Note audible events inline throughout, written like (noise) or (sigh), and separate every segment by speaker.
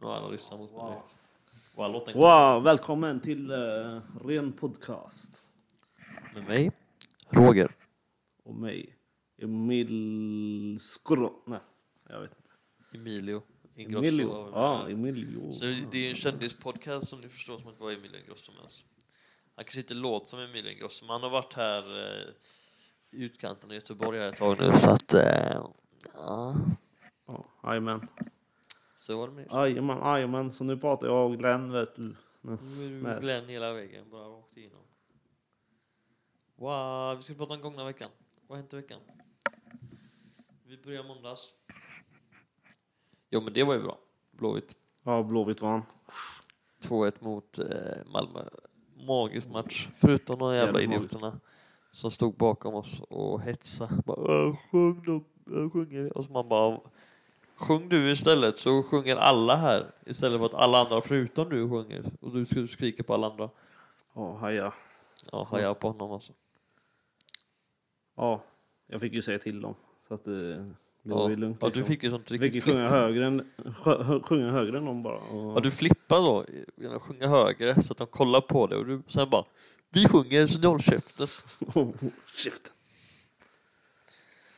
Speaker 1: Nu har han ryssar mot mig direkt. Wow, låten wow.
Speaker 2: Wow, välkommen till eh, Ren Podcast.
Speaker 1: med mig, Roger.
Speaker 2: Och mig, Emil Skro... Nej, jag vet inte.
Speaker 1: Emilio Ingrosso.
Speaker 2: Emilio.
Speaker 1: har vi med
Speaker 2: Ja,
Speaker 1: här.
Speaker 2: Emilio.
Speaker 1: Så det är en kändispodcast som ni förstår som att vara Emilio Ingrosso med oss. Han kanske inte låter som Emilio Ingrosso, men han har varit här eh, i utkanten av Göteborg här ett tag nu så att... Eh, ja.
Speaker 2: Ja, Jajamän.
Speaker 1: Så var det med det.
Speaker 2: Jajamän, jajamän. Så nu pratar jag och Glenn, vet du. Nej.
Speaker 1: Nu är
Speaker 2: Nej.
Speaker 1: det Glenn hela vägen, bara rakt igenom. Wow, vi ska prata om gångna veckan. Vad har hänt i veckan? Vi börjar måndags. Jo men det var ju bra. Blåvitt.
Speaker 2: Ja, Blåvitt vann.
Speaker 1: 2-1 mot eh, Malmö. Magisk match. Förutom de jävla
Speaker 2: Jävligt magiskt.
Speaker 1: idioterna som stod bakom oss och hetsa. Bara, "Äh, sjung då, äh, sjunger. Och så man bara Sjung du istället så sjunger alla här istället för att alla andra förutom du sjunger och du skulle skrika på alla andra.
Speaker 2: Ja, haja.
Speaker 1: Ja, hajar på honom alltså.
Speaker 2: Ja, jag fick ju säga till dem. Så att eh, det var ju lugnt.
Speaker 1: ja, du fick ju sånt
Speaker 2: jag Liksom fick
Speaker 1: riktigt
Speaker 2: ju sjunga
Speaker 1: flipp.
Speaker 2: högre, än, sjö- hö, sjunga högre än dem bara. Och,
Speaker 1: Ja, du flippar då genom att sjunga högre så att de kollar på dig och du sen bara Vi sjunger så ni håller käften.
Speaker 2: (laughs) Shit.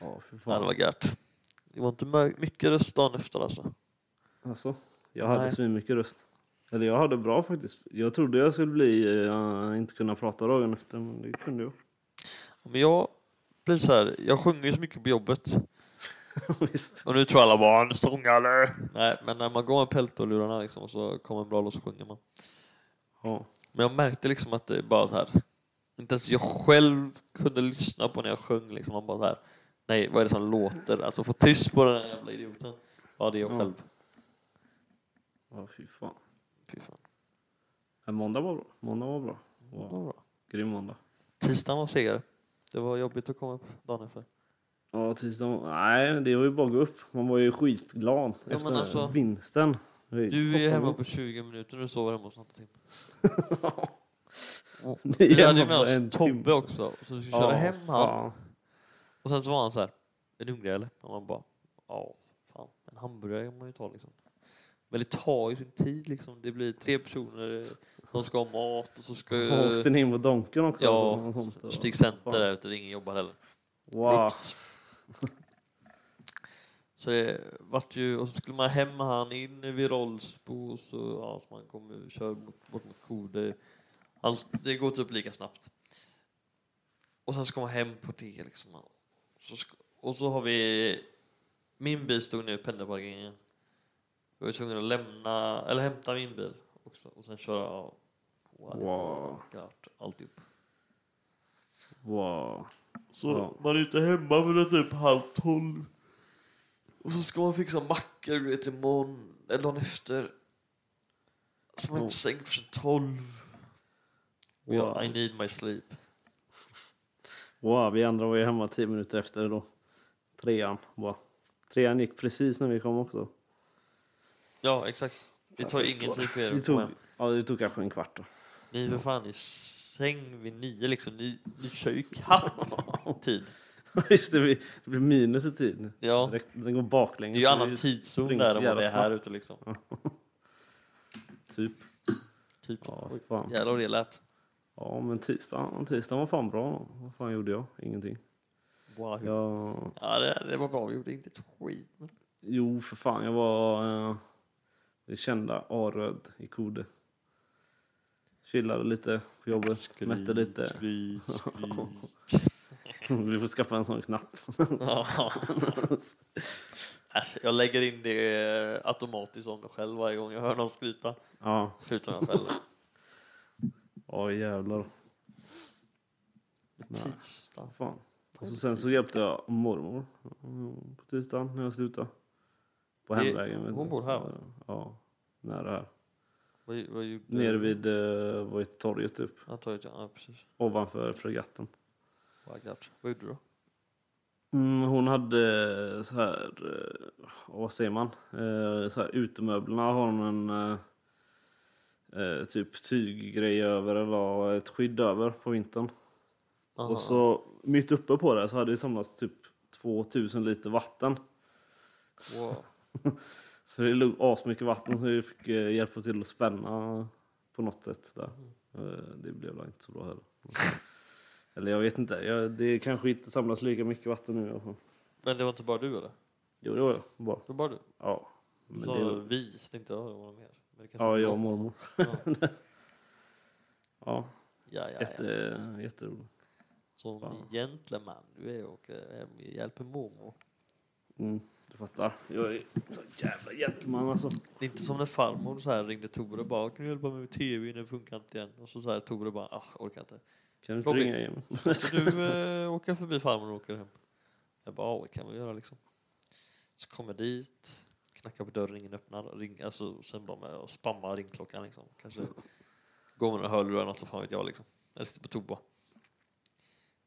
Speaker 2: Ja, fy
Speaker 1: Ja,
Speaker 2: fan.
Speaker 1: det var gött. Det var inte mö- mycket röst dagen efter alltså.
Speaker 2: Alltså, jag hade
Speaker 1: Nej.
Speaker 2: svinmycket röst. Eller jag hade bra faktiskt. Jag trodde jag skulle bli, eh, inte kunna prata dagen efter men det kunde jag. (laughs)
Speaker 1: Men jag blir så här, jag sjunger ju så mycket på jobbet
Speaker 2: Visst.
Speaker 1: och nu tror alla bara han sångare. Nej, men när man går med peltorlurarna liksom så kommer en bra låt så sjunger man.
Speaker 2: Ja.
Speaker 1: Men jag märkte liksom att det bara så här. Inte ens jag själv kunde lyssna på när jag sjöng liksom. Man bara så här. Nej, vad är det som låter? Alltså få tyst på den här jävla idioten. Ja, det är jag
Speaker 2: Ja.
Speaker 1: själv.
Speaker 2: ja, fy fan.
Speaker 1: Fy fan.
Speaker 2: Men måndag var bra. Måndag var bra.
Speaker 1: Det
Speaker 2: Wow.
Speaker 1: var bra.
Speaker 2: Grym måndag.
Speaker 1: Tisdagen var segare. Det var jobbigt att komma upp dagen efter.
Speaker 2: Ja, tisdag. var- Nej, det var ju bara att gå upp. Man var ju skitglad
Speaker 1: men
Speaker 2: efter
Speaker 1: alltså,
Speaker 2: vinsten. Det var ju
Speaker 1: Du är
Speaker 2: toppen. (laughs)
Speaker 1: hemma på 20 minuter och du sover hemma hos något timme.
Speaker 2: (laughs)
Speaker 1: Och
Speaker 2: Ni är
Speaker 1: Vi hade ju
Speaker 2: hemma
Speaker 1: med
Speaker 2: på
Speaker 1: oss
Speaker 2: en
Speaker 1: Tobbe
Speaker 2: timme.
Speaker 1: också. Så vi skulle köra
Speaker 2: Ja,
Speaker 1: hem han.
Speaker 2: fan.
Speaker 1: Och sen så var han så här. Är du hungrig eller? Och man bara. Ja, fan. En hamburgare kan man ju ta liksom. Men det tar ju sin tid liksom. Det blir tre personer som ska ha mat och så ska
Speaker 2: Och
Speaker 1: ju
Speaker 2: Åkte ni in på Donken också?
Speaker 1: Eh, Ja,
Speaker 2: Alltså,
Speaker 1: Stig Center
Speaker 2: fan.
Speaker 1: där ute. Ingen jobbar heller.
Speaker 2: Wow.
Speaker 1: Oops. (laughs) Så det vart ju, och så skulle man hem med han in vid Rollsbo och så, ja, så man kommer kör mot, bort mot Kode. Allt, det går typ lika snabbt. Och sen ska man hem på det liksom. Så sk- och så har vi, min bil stod nu i pendelparkeringen. Vi var tvungna att lämna, eller hämta min bil också och sen köra, ja,
Speaker 2: Wow.
Speaker 1: klart, alltihop.
Speaker 2: Wow.
Speaker 1: Så
Speaker 2: Ja.
Speaker 1: man är inte hemma förrän typ halv tolv. Och så ska man fixa mackor du vet imorgon, eller dagen efter. Så man är
Speaker 2: Ja.
Speaker 1: inte säng förrän tolv. Och jag,
Speaker 2: Wow.
Speaker 1: I need my sleep.
Speaker 2: Wow, vi andra var ju hemma tio minuter efter då. Trean. Wow. Trean gick precis när vi kom också.
Speaker 1: Ja, exakt. Det tar
Speaker 2: Perfekt,
Speaker 1: ingen
Speaker 2: va?
Speaker 1: tid för er
Speaker 2: Det
Speaker 1: att komma
Speaker 2: tog,
Speaker 1: hem.
Speaker 2: ja, det tog kanske en kvart. Då. (laughs)
Speaker 1: Ni är för fan i säng vid nio liksom. Ni, ni kör ju
Speaker 2: (laughs)
Speaker 1: kapp tid.
Speaker 2: Just det, vi- det blir minus i tid.
Speaker 1: Ja,
Speaker 2: Direkt- Den går
Speaker 1: det
Speaker 2: baklänges.
Speaker 1: är ju
Speaker 2: så
Speaker 1: annan tidszon
Speaker 2: springer
Speaker 1: där
Speaker 2: så
Speaker 1: än vad det är
Speaker 2: jävla
Speaker 1: här ute liksom.
Speaker 2: Typ.
Speaker 1: Typ.
Speaker 2: Ja,
Speaker 1: Oj,
Speaker 2: fan.
Speaker 1: Jävlar vad det lät.
Speaker 2: ja, men tisdagen, tisdagen var fan bra. Vad fan gjorde jag? Ingenting.
Speaker 1: Wow. Ja,
Speaker 2: Jag,
Speaker 1: det, det var bra. Vi gjorde inte ett skit. Men...
Speaker 2: jo, för fan. Jag var eh, det kända Aröd i Kode. Chillade lite på jobbet. mätte lite.
Speaker 1: Skryt,
Speaker 2: (laughs) Vi får skaffa en sån knapp.
Speaker 1: (laughs)
Speaker 2: (laughs)
Speaker 1: Ja. Äsch, jag lägger in det eh, automatiskt om mig själv varje gång jag hör någon skryta.
Speaker 2: ja,
Speaker 1: Förutom jag själv.
Speaker 2: ja jävlar. (laughs) Nej.
Speaker 1: Tisdag.
Speaker 2: Fan. Och så sen så hjälpte jag mormor mm, på tisdagen när jag slutade. På
Speaker 1: Det-
Speaker 2: hemvägen. vet
Speaker 1: hon
Speaker 2: du.
Speaker 1: bor här, va?
Speaker 2: Ja, nära här.
Speaker 1: Vad, vad gjorde
Speaker 2: Nere vid eh, vad heter torget upp,
Speaker 1: Jag tar ett, ja, precis.
Speaker 2: ovanför fregatten.
Speaker 1: Vad gött. Vad gjorde du då?
Speaker 2: Mm, hon hade eh, så här, eh, vad säger man, Eh, så här utemöblerna har hon en eh, eh, typ tyggrej över eller ett skydd över på vintern.
Speaker 1: Aha.
Speaker 2: Och så mitt uppe på det så hade det samlats typ 2000 liter vatten.
Speaker 1: Wow.
Speaker 2: Så det låg asmycket vatten så vi fick eh, hjälpa till att spänna på något sätt där. Eh, Det blev väl inte så
Speaker 1: (laughs)
Speaker 2: bra heller. Eller jag vet inte, jag, det kanske inte samlas lika mycket vatten nu i alla fall.
Speaker 1: Men det var inte bara du eller?
Speaker 2: Jo, det var jag. Bra.
Speaker 1: Det var bara du?
Speaker 2: Ja.
Speaker 1: Du
Speaker 2: Men
Speaker 1: sa
Speaker 2: det var,
Speaker 1: vi, så tänkte jag ja, det var någon mer. Men det kanske
Speaker 2: ja,
Speaker 1: var-
Speaker 2: jag och mormor.
Speaker 1: Ja,
Speaker 2: (laughs) Ja,
Speaker 1: ja, ja.
Speaker 2: jätte,
Speaker 1: ja.
Speaker 2: jätteroligt.
Speaker 1: Som gentleman du är och eh, hem- hjälper mormor.
Speaker 2: Mm, du fattar. Jag är så jävla gentleman alltså.
Speaker 1: Det är inte som när farmor så här ringde Tore och bara kan du hjälpa mig med tvn, den funkar inte igen. Och så, så här Tore bara ah, orkar inte.
Speaker 2: Kan du inte
Speaker 1: Robin.
Speaker 2: ringa igen? (laughs)
Speaker 1: Så du eh, åker förbi farmor och åker hem. Jag bara ah, det kan vi göra liksom. Så kommer jag dit, knackar på dörren, ingen öppnar. Ring, alltså, sen bara med och spammar ringklockan liksom. Kanske går med några hörlurar eller något så fan vet jag liksom. Eller sitter på toa.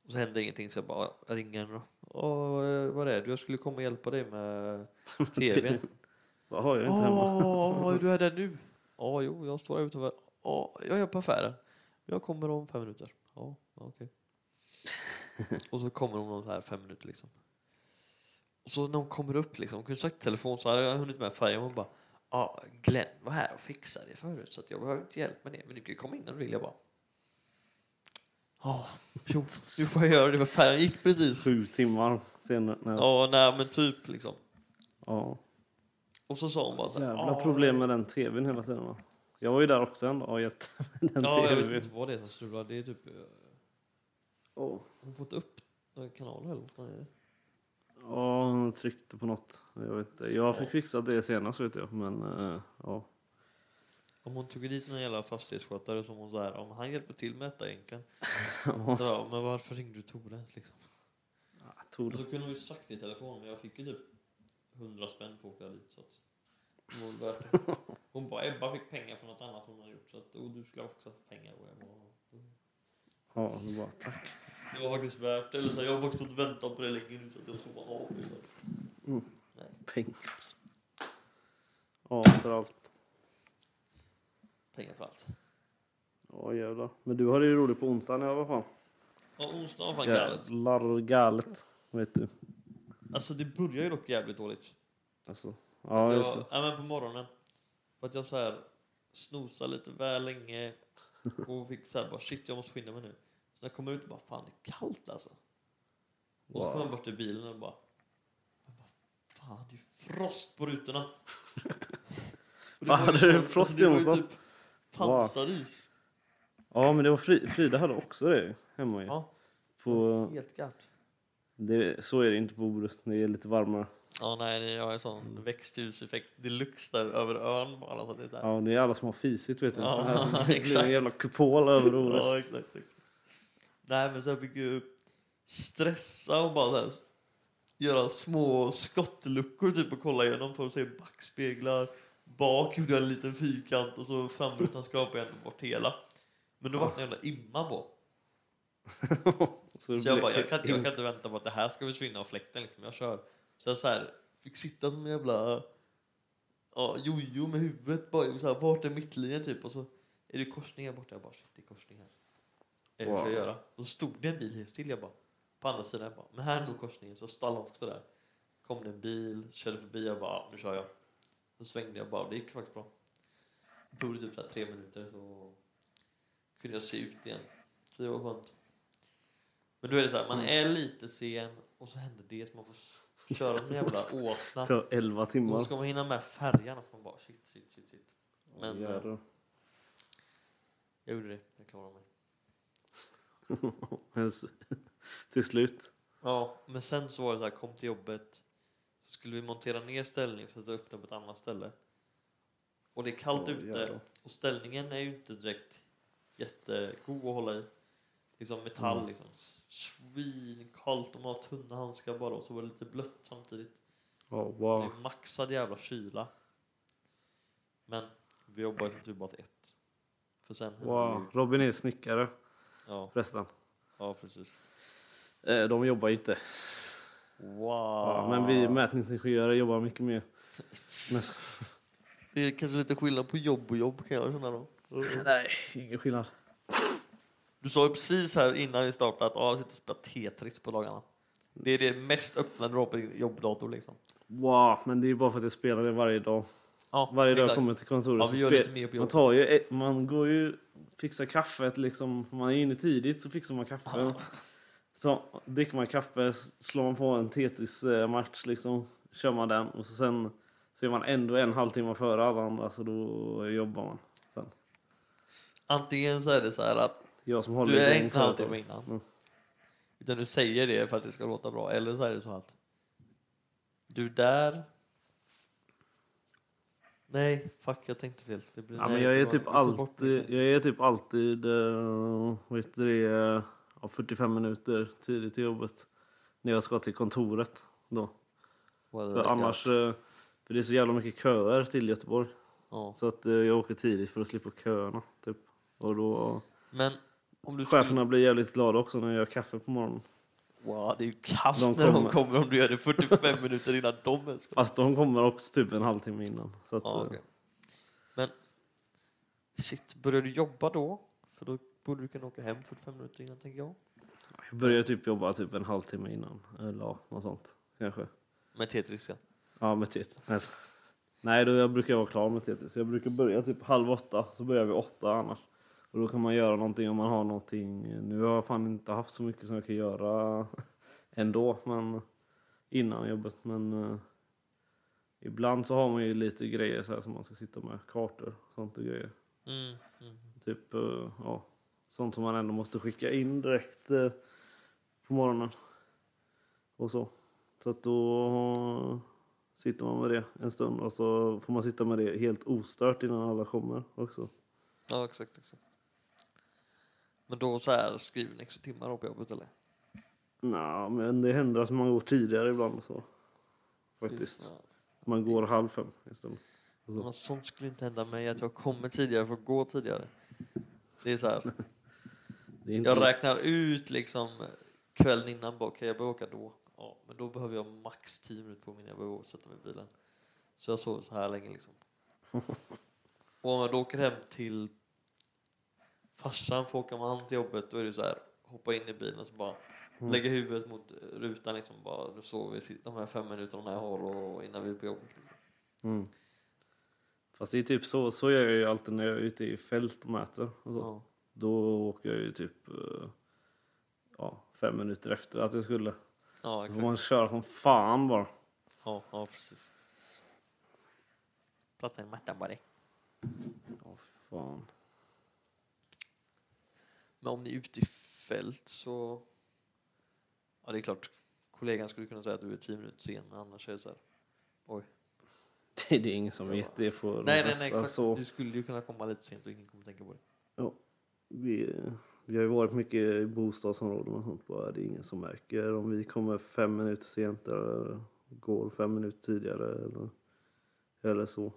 Speaker 1: Och så händer ingenting så jag bara jag ringer henne då. Åh, eh, var är du? Jag skulle komma och hjälpa dig med tvn.
Speaker 2: Vad har jag är inte hemma?
Speaker 1: Åh, du är där nu? Ja, jo, jag står här utanför. Ja, jag är på affären. Jag kommer om fem minuter. Ja, ja, okej. (laughs) Och så kommer hon om så här fem minuter liksom. Och så när hon kommer upp liksom, hon kunde sagt telefon så hade jag hunnit med färjan. Hon bara, ja, Glenn var här och fixade det förut så att jag behöver inte hjälp med det. Men du kan ju komma in när du vill. Jag bara, ja, (laughs) jo, nu får jag göra det för färjan gick precis.
Speaker 2: Sju timmar senare. Nej. Ja.
Speaker 1: Ja, nej men typ liksom.
Speaker 2: ja.
Speaker 1: Och så sa hon bara så här,
Speaker 2: Jävla
Speaker 1: "Ja,
Speaker 2: problem med den tvn hela tiden va? Jag var ju där också en dag och hjälpte med (laughs) den
Speaker 1: Ja, jag vet
Speaker 2: tvn.
Speaker 1: inte vad det är som strular. Det är typ... eh,
Speaker 2: Åh.
Speaker 1: Har hon fått upp några kanaler eller vad är det?
Speaker 2: Ja, hon tryckte på något. Jag vet inte. Jag fick
Speaker 1: Ja.
Speaker 2: fixa det senast vet jag. Men eh, ja. (laughs)
Speaker 1: Om hon tog dit någon jävla fastighetsskötare som hon så här, om han hjälper till med detta egentligen.
Speaker 2: Ja.
Speaker 1: Så, ja, men varför ringde du Tore ens liksom?
Speaker 2: Jag tog
Speaker 1: Och så
Speaker 2: det.
Speaker 1: kunde hon ju sagt det i telefon, men jag fick ju typ 100 spänn för att åka dit så att det var värt (laughs) det. Hon bara, Ebba fick pengar från något annat hon hade gjort så att, och du skulle också ha fått pengar och jag bara, mm.
Speaker 2: Ja, det var tack.
Speaker 1: Det var faktiskt värt det. Eller så här, jag har faktiskt fått vänta på det länge nu så att jag tror bara, ja. det är värt det."
Speaker 2: Pengar. Ja, för allt.
Speaker 1: Pengar för allt.
Speaker 2: Ja, jävlar. Men du hade ju roligt på onsdagen i alla fall.
Speaker 1: Ja, onsdag var fan galet.
Speaker 2: Jävlar galet. Vet du.
Speaker 1: Alltså det börjar ju dock jävligt dåligt.
Speaker 2: Alltså. Ja, just
Speaker 1: jag,
Speaker 2: det.
Speaker 1: ja, men på morgonen. För att jag så här snosade lite väl länge och fick så här bara shit jag måste skynda mig nu. Så när jag kommer ut bara fan det är kallt alltså. Och så
Speaker 2: Wow.
Speaker 1: kommer jag bort till bilen och bara men vad fan det är ju frost på
Speaker 2: (laughs)
Speaker 1: rutorna. Och
Speaker 2: Fan,
Speaker 1: var ju
Speaker 2: hade du
Speaker 1: så-
Speaker 2: frost
Speaker 1: alltså, det var ju
Speaker 2: i onsdag?
Speaker 1: typ Tantaris.
Speaker 2: Ja, men det var Fri- Frida hade också det hemma ju.
Speaker 1: Ja,
Speaker 2: På,
Speaker 1: helt galet.
Speaker 2: det, så är det inte på Orust. Det är lite varmare.
Speaker 1: Ja nej det- jag har en
Speaker 2: Mm.
Speaker 1: sån växthuseffekt deluxe där över ön bara så att det är så här.
Speaker 2: Ja, det är alla som har fisit vet du.
Speaker 1: Ja,
Speaker 2: det
Speaker 1: (laughs)
Speaker 2: blir
Speaker 1: exakt.
Speaker 2: en jävla kupol över
Speaker 1: Ja,
Speaker 2: Orust.
Speaker 1: exakt, exakt. Nej, men så jag fick ju stressa och bara så här, göra små skottluckor typ och kolla igenom för att se backspeglar. Bak gjorde jag en liten fyrkant och så framrutan skrapade jag ändå bort hela. Men då var det en jävla imma på.
Speaker 2: så det
Speaker 1: Så jag
Speaker 2: blev-
Speaker 1: bara, jag kan, inte- jag kan inte vänta på att det här ska försvinna av fläkten liksom. Jag kör. Så jag så här, fick sitta som en jävla ja, jojo med huvudet bara. Så här, vart är mittlinjen typ? Och så är det korsning här borta. Jag bara, shit det är korsning här. Eh, Hur ska
Speaker 2: Wow.
Speaker 1: jag göra? Och så stod det en bil helt still. Jag bara, på andra sidan. Jag bara, men här är nog korsningen. Så jag stallade också där. Kom det en bil, körde förbi. Jag bara, ah, nu kör jag. Så svängde jag bara. Det gick faktiskt bra. Det tog typ så här tre minuter så kunde jag se ut igen. Så det var skönt. Men då är det så här,
Speaker 2: Mm.
Speaker 1: man är lite sen och så händer det så man får s- köra en
Speaker 2: (laughs)
Speaker 1: jävla åsna.
Speaker 2: Det tar 11
Speaker 1: Och
Speaker 2: timmar.
Speaker 1: så ska man hinna med färjan och så man bara shit, shit, shit, shit. Men
Speaker 2: Åh, jävlar.
Speaker 1: eh, jag gjorde det, jag klarade mig.
Speaker 2: (laughs) Men s- (laughs) Till slut.
Speaker 1: Ja, men sen så var det så här, kom till jobbet. Så skulle vi montera ner ställning för att sätta upp den på ett annat ställe. Och det är kallt
Speaker 2: Åh,
Speaker 1: ute
Speaker 2: jävlar.
Speaker 1: och ställningen är ju inte direkt jättegod att hålla i. Liksom metall,
Speaker 2: Mm.
Speaker 1: liksom svinkallt och man har tunna handskar bara och så var det lite blött samtidigt.
Speaker 2: Ja,
Speaker 1: Det
Speaker 2: wow.
Speaker 1: är maxad jävla kyla. Men vi jobbar ju som tur bara till ett. För sen händer
Speaker 2: wow.
Speaker 1: det ju-
Speaker 2: Robin är snickare
Speaker 1: ja,
Speaker 2: förresten.
Speaker 1: ja, precis.
Speaker 2: Eh, De jobbar ju inte.
Speaker 1: Wow.
Speaker 2: Ja,
Speaker 1: Ah.
Speaker 2: men vi mätningsingenjörer jobbar mycket mer. Men,
Speaker 1: Det är kanske lite skillnad på jobb och jobb kan jag känna då.
Speaker 2: (laughs) nej, ingen skillnad.
Speaker 1: Du sa ju precis här innan vi startade att ah, jag sitter och spelar Tetris på dagarna. Det är det mest öppna du har på din jobbdator liksom.
Speaker 2: Wow, men det är bara för att jag spelar det varje dag.
Speaker 1: Ja,
Speaker 2: Varje dag jag
Speaker 1: exakt.
Speaker 2: kommer till kontoret
Speaker 1: Ja,
Speaker 2: så
Speaker 1: vi gör
Speaker 2: spe-
Speaker 1: lite mer på
Speaker 2: man,
Speaker 1: jobbet.
Speaker 2: tar ju, ett- man går ju fixar kaffet liksom. Man är inne tidigt så fixar man kaffe. Så dricker man kaffe, s- slår man på en Tetris-match liksom. Kör man den och så sen så är man ändå en halvtimme före alla andra så då jobbar man. Sen.
Speaker 1: Antingen så är det så här att
Speaker 2: Jag som håller
Speaker 1: du är
Speaker 2: igång
Speaker 1: inte en halvtimme
Speaker 2: företaget.
Speaker 1: innan.
Speaker 2: Mm.
Speaker 1: Utan du säger det för att det ska låta bra. Eller så är det så att du är där. Nej, fuck jag tänkte fel. Det blir,
Speaker 2: Ja,
Speaker 1: nej,
Speaker 2: men jag
Speaker 1: det
Speaker 2: är
Speaker 1: var-
Speaker 2: typ
Speaker 1: jag tar bort
Speaker 2: alltid,
Speaker 1: mitten.
Speaker 2: jag är typ alltid eh, vad heter det, eh, ja, 45 minuter tidigt till jobbet när jag ska till kontoret. Då.
Speaker 1: Vad är det
Speaker 2: För
Speaker 1: där?
Speaker 2: annars, eh, för det är så jävla mycket köer till Göteborg
Speaker 1: Ja.
Speaker 2: så att eh, jag åker tidigt för att slippa köerna. Typ. Och då,
Speaker 1: Men om du skulle...
Speaker 2: cheferna blir jävligt glada också när jag gör kaffe på morgonen.
Speaker 1: Wow, det är ju kass
Speaker 2: De
Speaker 1: när de
Speaker 2: kommer.
Speaker 1: kommer om du gör det 45 minuter innan de ens kommer.
Speaker 2: Fast Alltså, de kommer också typ en halvtimme innan. Så att,
Speaker 1: Ja,
Speaker 2: eh,
Speaker 1: okej. Men shit, börjar du jobba då? För då borde du kunna åka hem 45 minuter innan tänker jag.
Speaker 2: Jag börjar typ jobba typ en halvtimme innan eller ja, något sånt kanske.
Speaker 1: Med Tetris ja.
Speaker 2: Ja, med Tetris. Alltså. Nej, då jag brukar vara klar med Tetris. Jag brukar börja typ halv åtta, så börjar vi åtta annars. Och då kan man göra någonting om man har någonting. Nu har jag fan inte haft så mycket som jag kan göra (laughs) ändå, men innan jobbet. Men eh, ibland så har man ju lite grejer så här som man ska sitta med, kartor och sånt och grejer.
Speaker 1: Mm, mm.
Speaker 2: Typ, eh, ja, sånt som man ändå måste skicka in direkt eh, på morgonen. Och så. Så att då eh, sitter man med det en stund och så får man sitta med det helt ostört innan alla kommer också.
Speaker 1: Ja, exakt, exakt. Men då så här skriver ni extra timmar då på jobbet eller?
Speaker 2: Nja, men det händer att man går tidigare ibland och så. Faktiskt.
Speaker 1: Ja.
Speaker 2: Man går halv fem istället. Och så.
Speaker 1: Något sånt skulle inte hända mig, att jag kommer tidigare för att gå tidigare. Det är så här,
Speaker 2: Det är inte
Speaker 1: jag räknar ut liksom kvällen innan bara, kan jag börja åka då? Ja, men då behöver jag max 10 minuter på mig innan jag behöver sätta mig i bilen. Så jag sover så här länge liksom. Och om jag då åker hem till farsan för att åka med han till jobbet, då är det så här, hoppa in i bilen och så bara
Speaker 2: Mm.
Speaker 1: lägga huvudet mot rutan liksom, bara nu sover vi de här fem minuterna jag har och innan vi är på jobbet.
Speaker 2: Mm. Fast det är typ så, så gör jag ju alltid när jag är ute i fält och mäter. Alltså, Och så.
Speaker 1: Ja.
Speaker 2: Då åker jag ju typ eh, ja, fem minuter efter att jag skulle.
Speaker 1: ja,
Speaker 2: Då
Speaker 1: exakt.
Speaker 2: får man köra som fan bara.
Speaker 1: Ja, ja precis. Prata med mattan bara.
Speaker 2: Ja, fan. (laughs)
Speaker 1: Men om ni är ute i fält så... Ja, det är klart. Kollegan skulle kunna säga att du är 10 minuter sen, men annars är det så här.
Speaker 2: Det är det ingen som vet det för de
Speaker 1: Nej, nej,
Speaker 2: flesta,
Speaker 1: nej, exakt.
Speaker 2: Så,
Speaker 1: Du skulle ju kunna komma lite sent och ingen kommer tänka på det.
Speaker 2: vi, vi har ju varit mycket i bostadsområden och sånt bara. Det är ingen som märker om vi kommer fem minuter sent eller går fem minuter tidigare eller, eller så.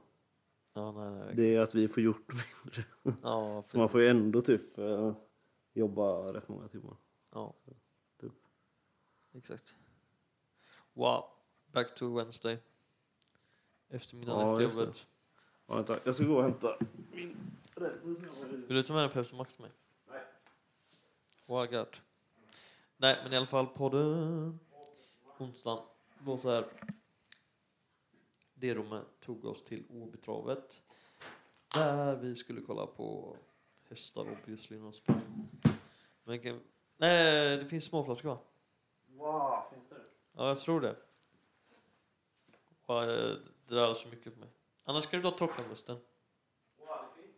Speaker 1: Ja, nej, nej. exakt.
Speaker 2: Det är att vi får gjort mindre.
Speaker 1: Ja,
Speaker 2: Så man
Speaker 1: precis.
Speaker 2: får ju ändå typ eh, jobba rätt många timmar.
Speaker 1: Ja.
Speaker 2: Typ.
Speaker 1: Exakt. Wow. Back to Wednesday. Eftermiddagen
Speaker 2: Ja, just
Speaker 1: efter
Speaker 2: det.
Speaker 1: jobbet.
Speaker 2: Ja, vänta, jag ska gå och hämta.
Speaker 1: Vill du ta med en Pepsi Max till mig?
Speaker 2: Nej.
Speaker 1: Wow, gött. Nej, men i alla fall podden. Onsdagen var så här. D-Romme tog oss till Åbytravet. Där vi skulle kolla på hästar obviously. Någon spång. Men kan... Nej, det finns småflaskor va?
Speaker 2: Wow, finns det?
Speaker 1: Ja, jag tror det. Wow, eh, det där är så mycket på mig. Annars kan du ta torkarmusten.
Speaker 2: Wow, det finns.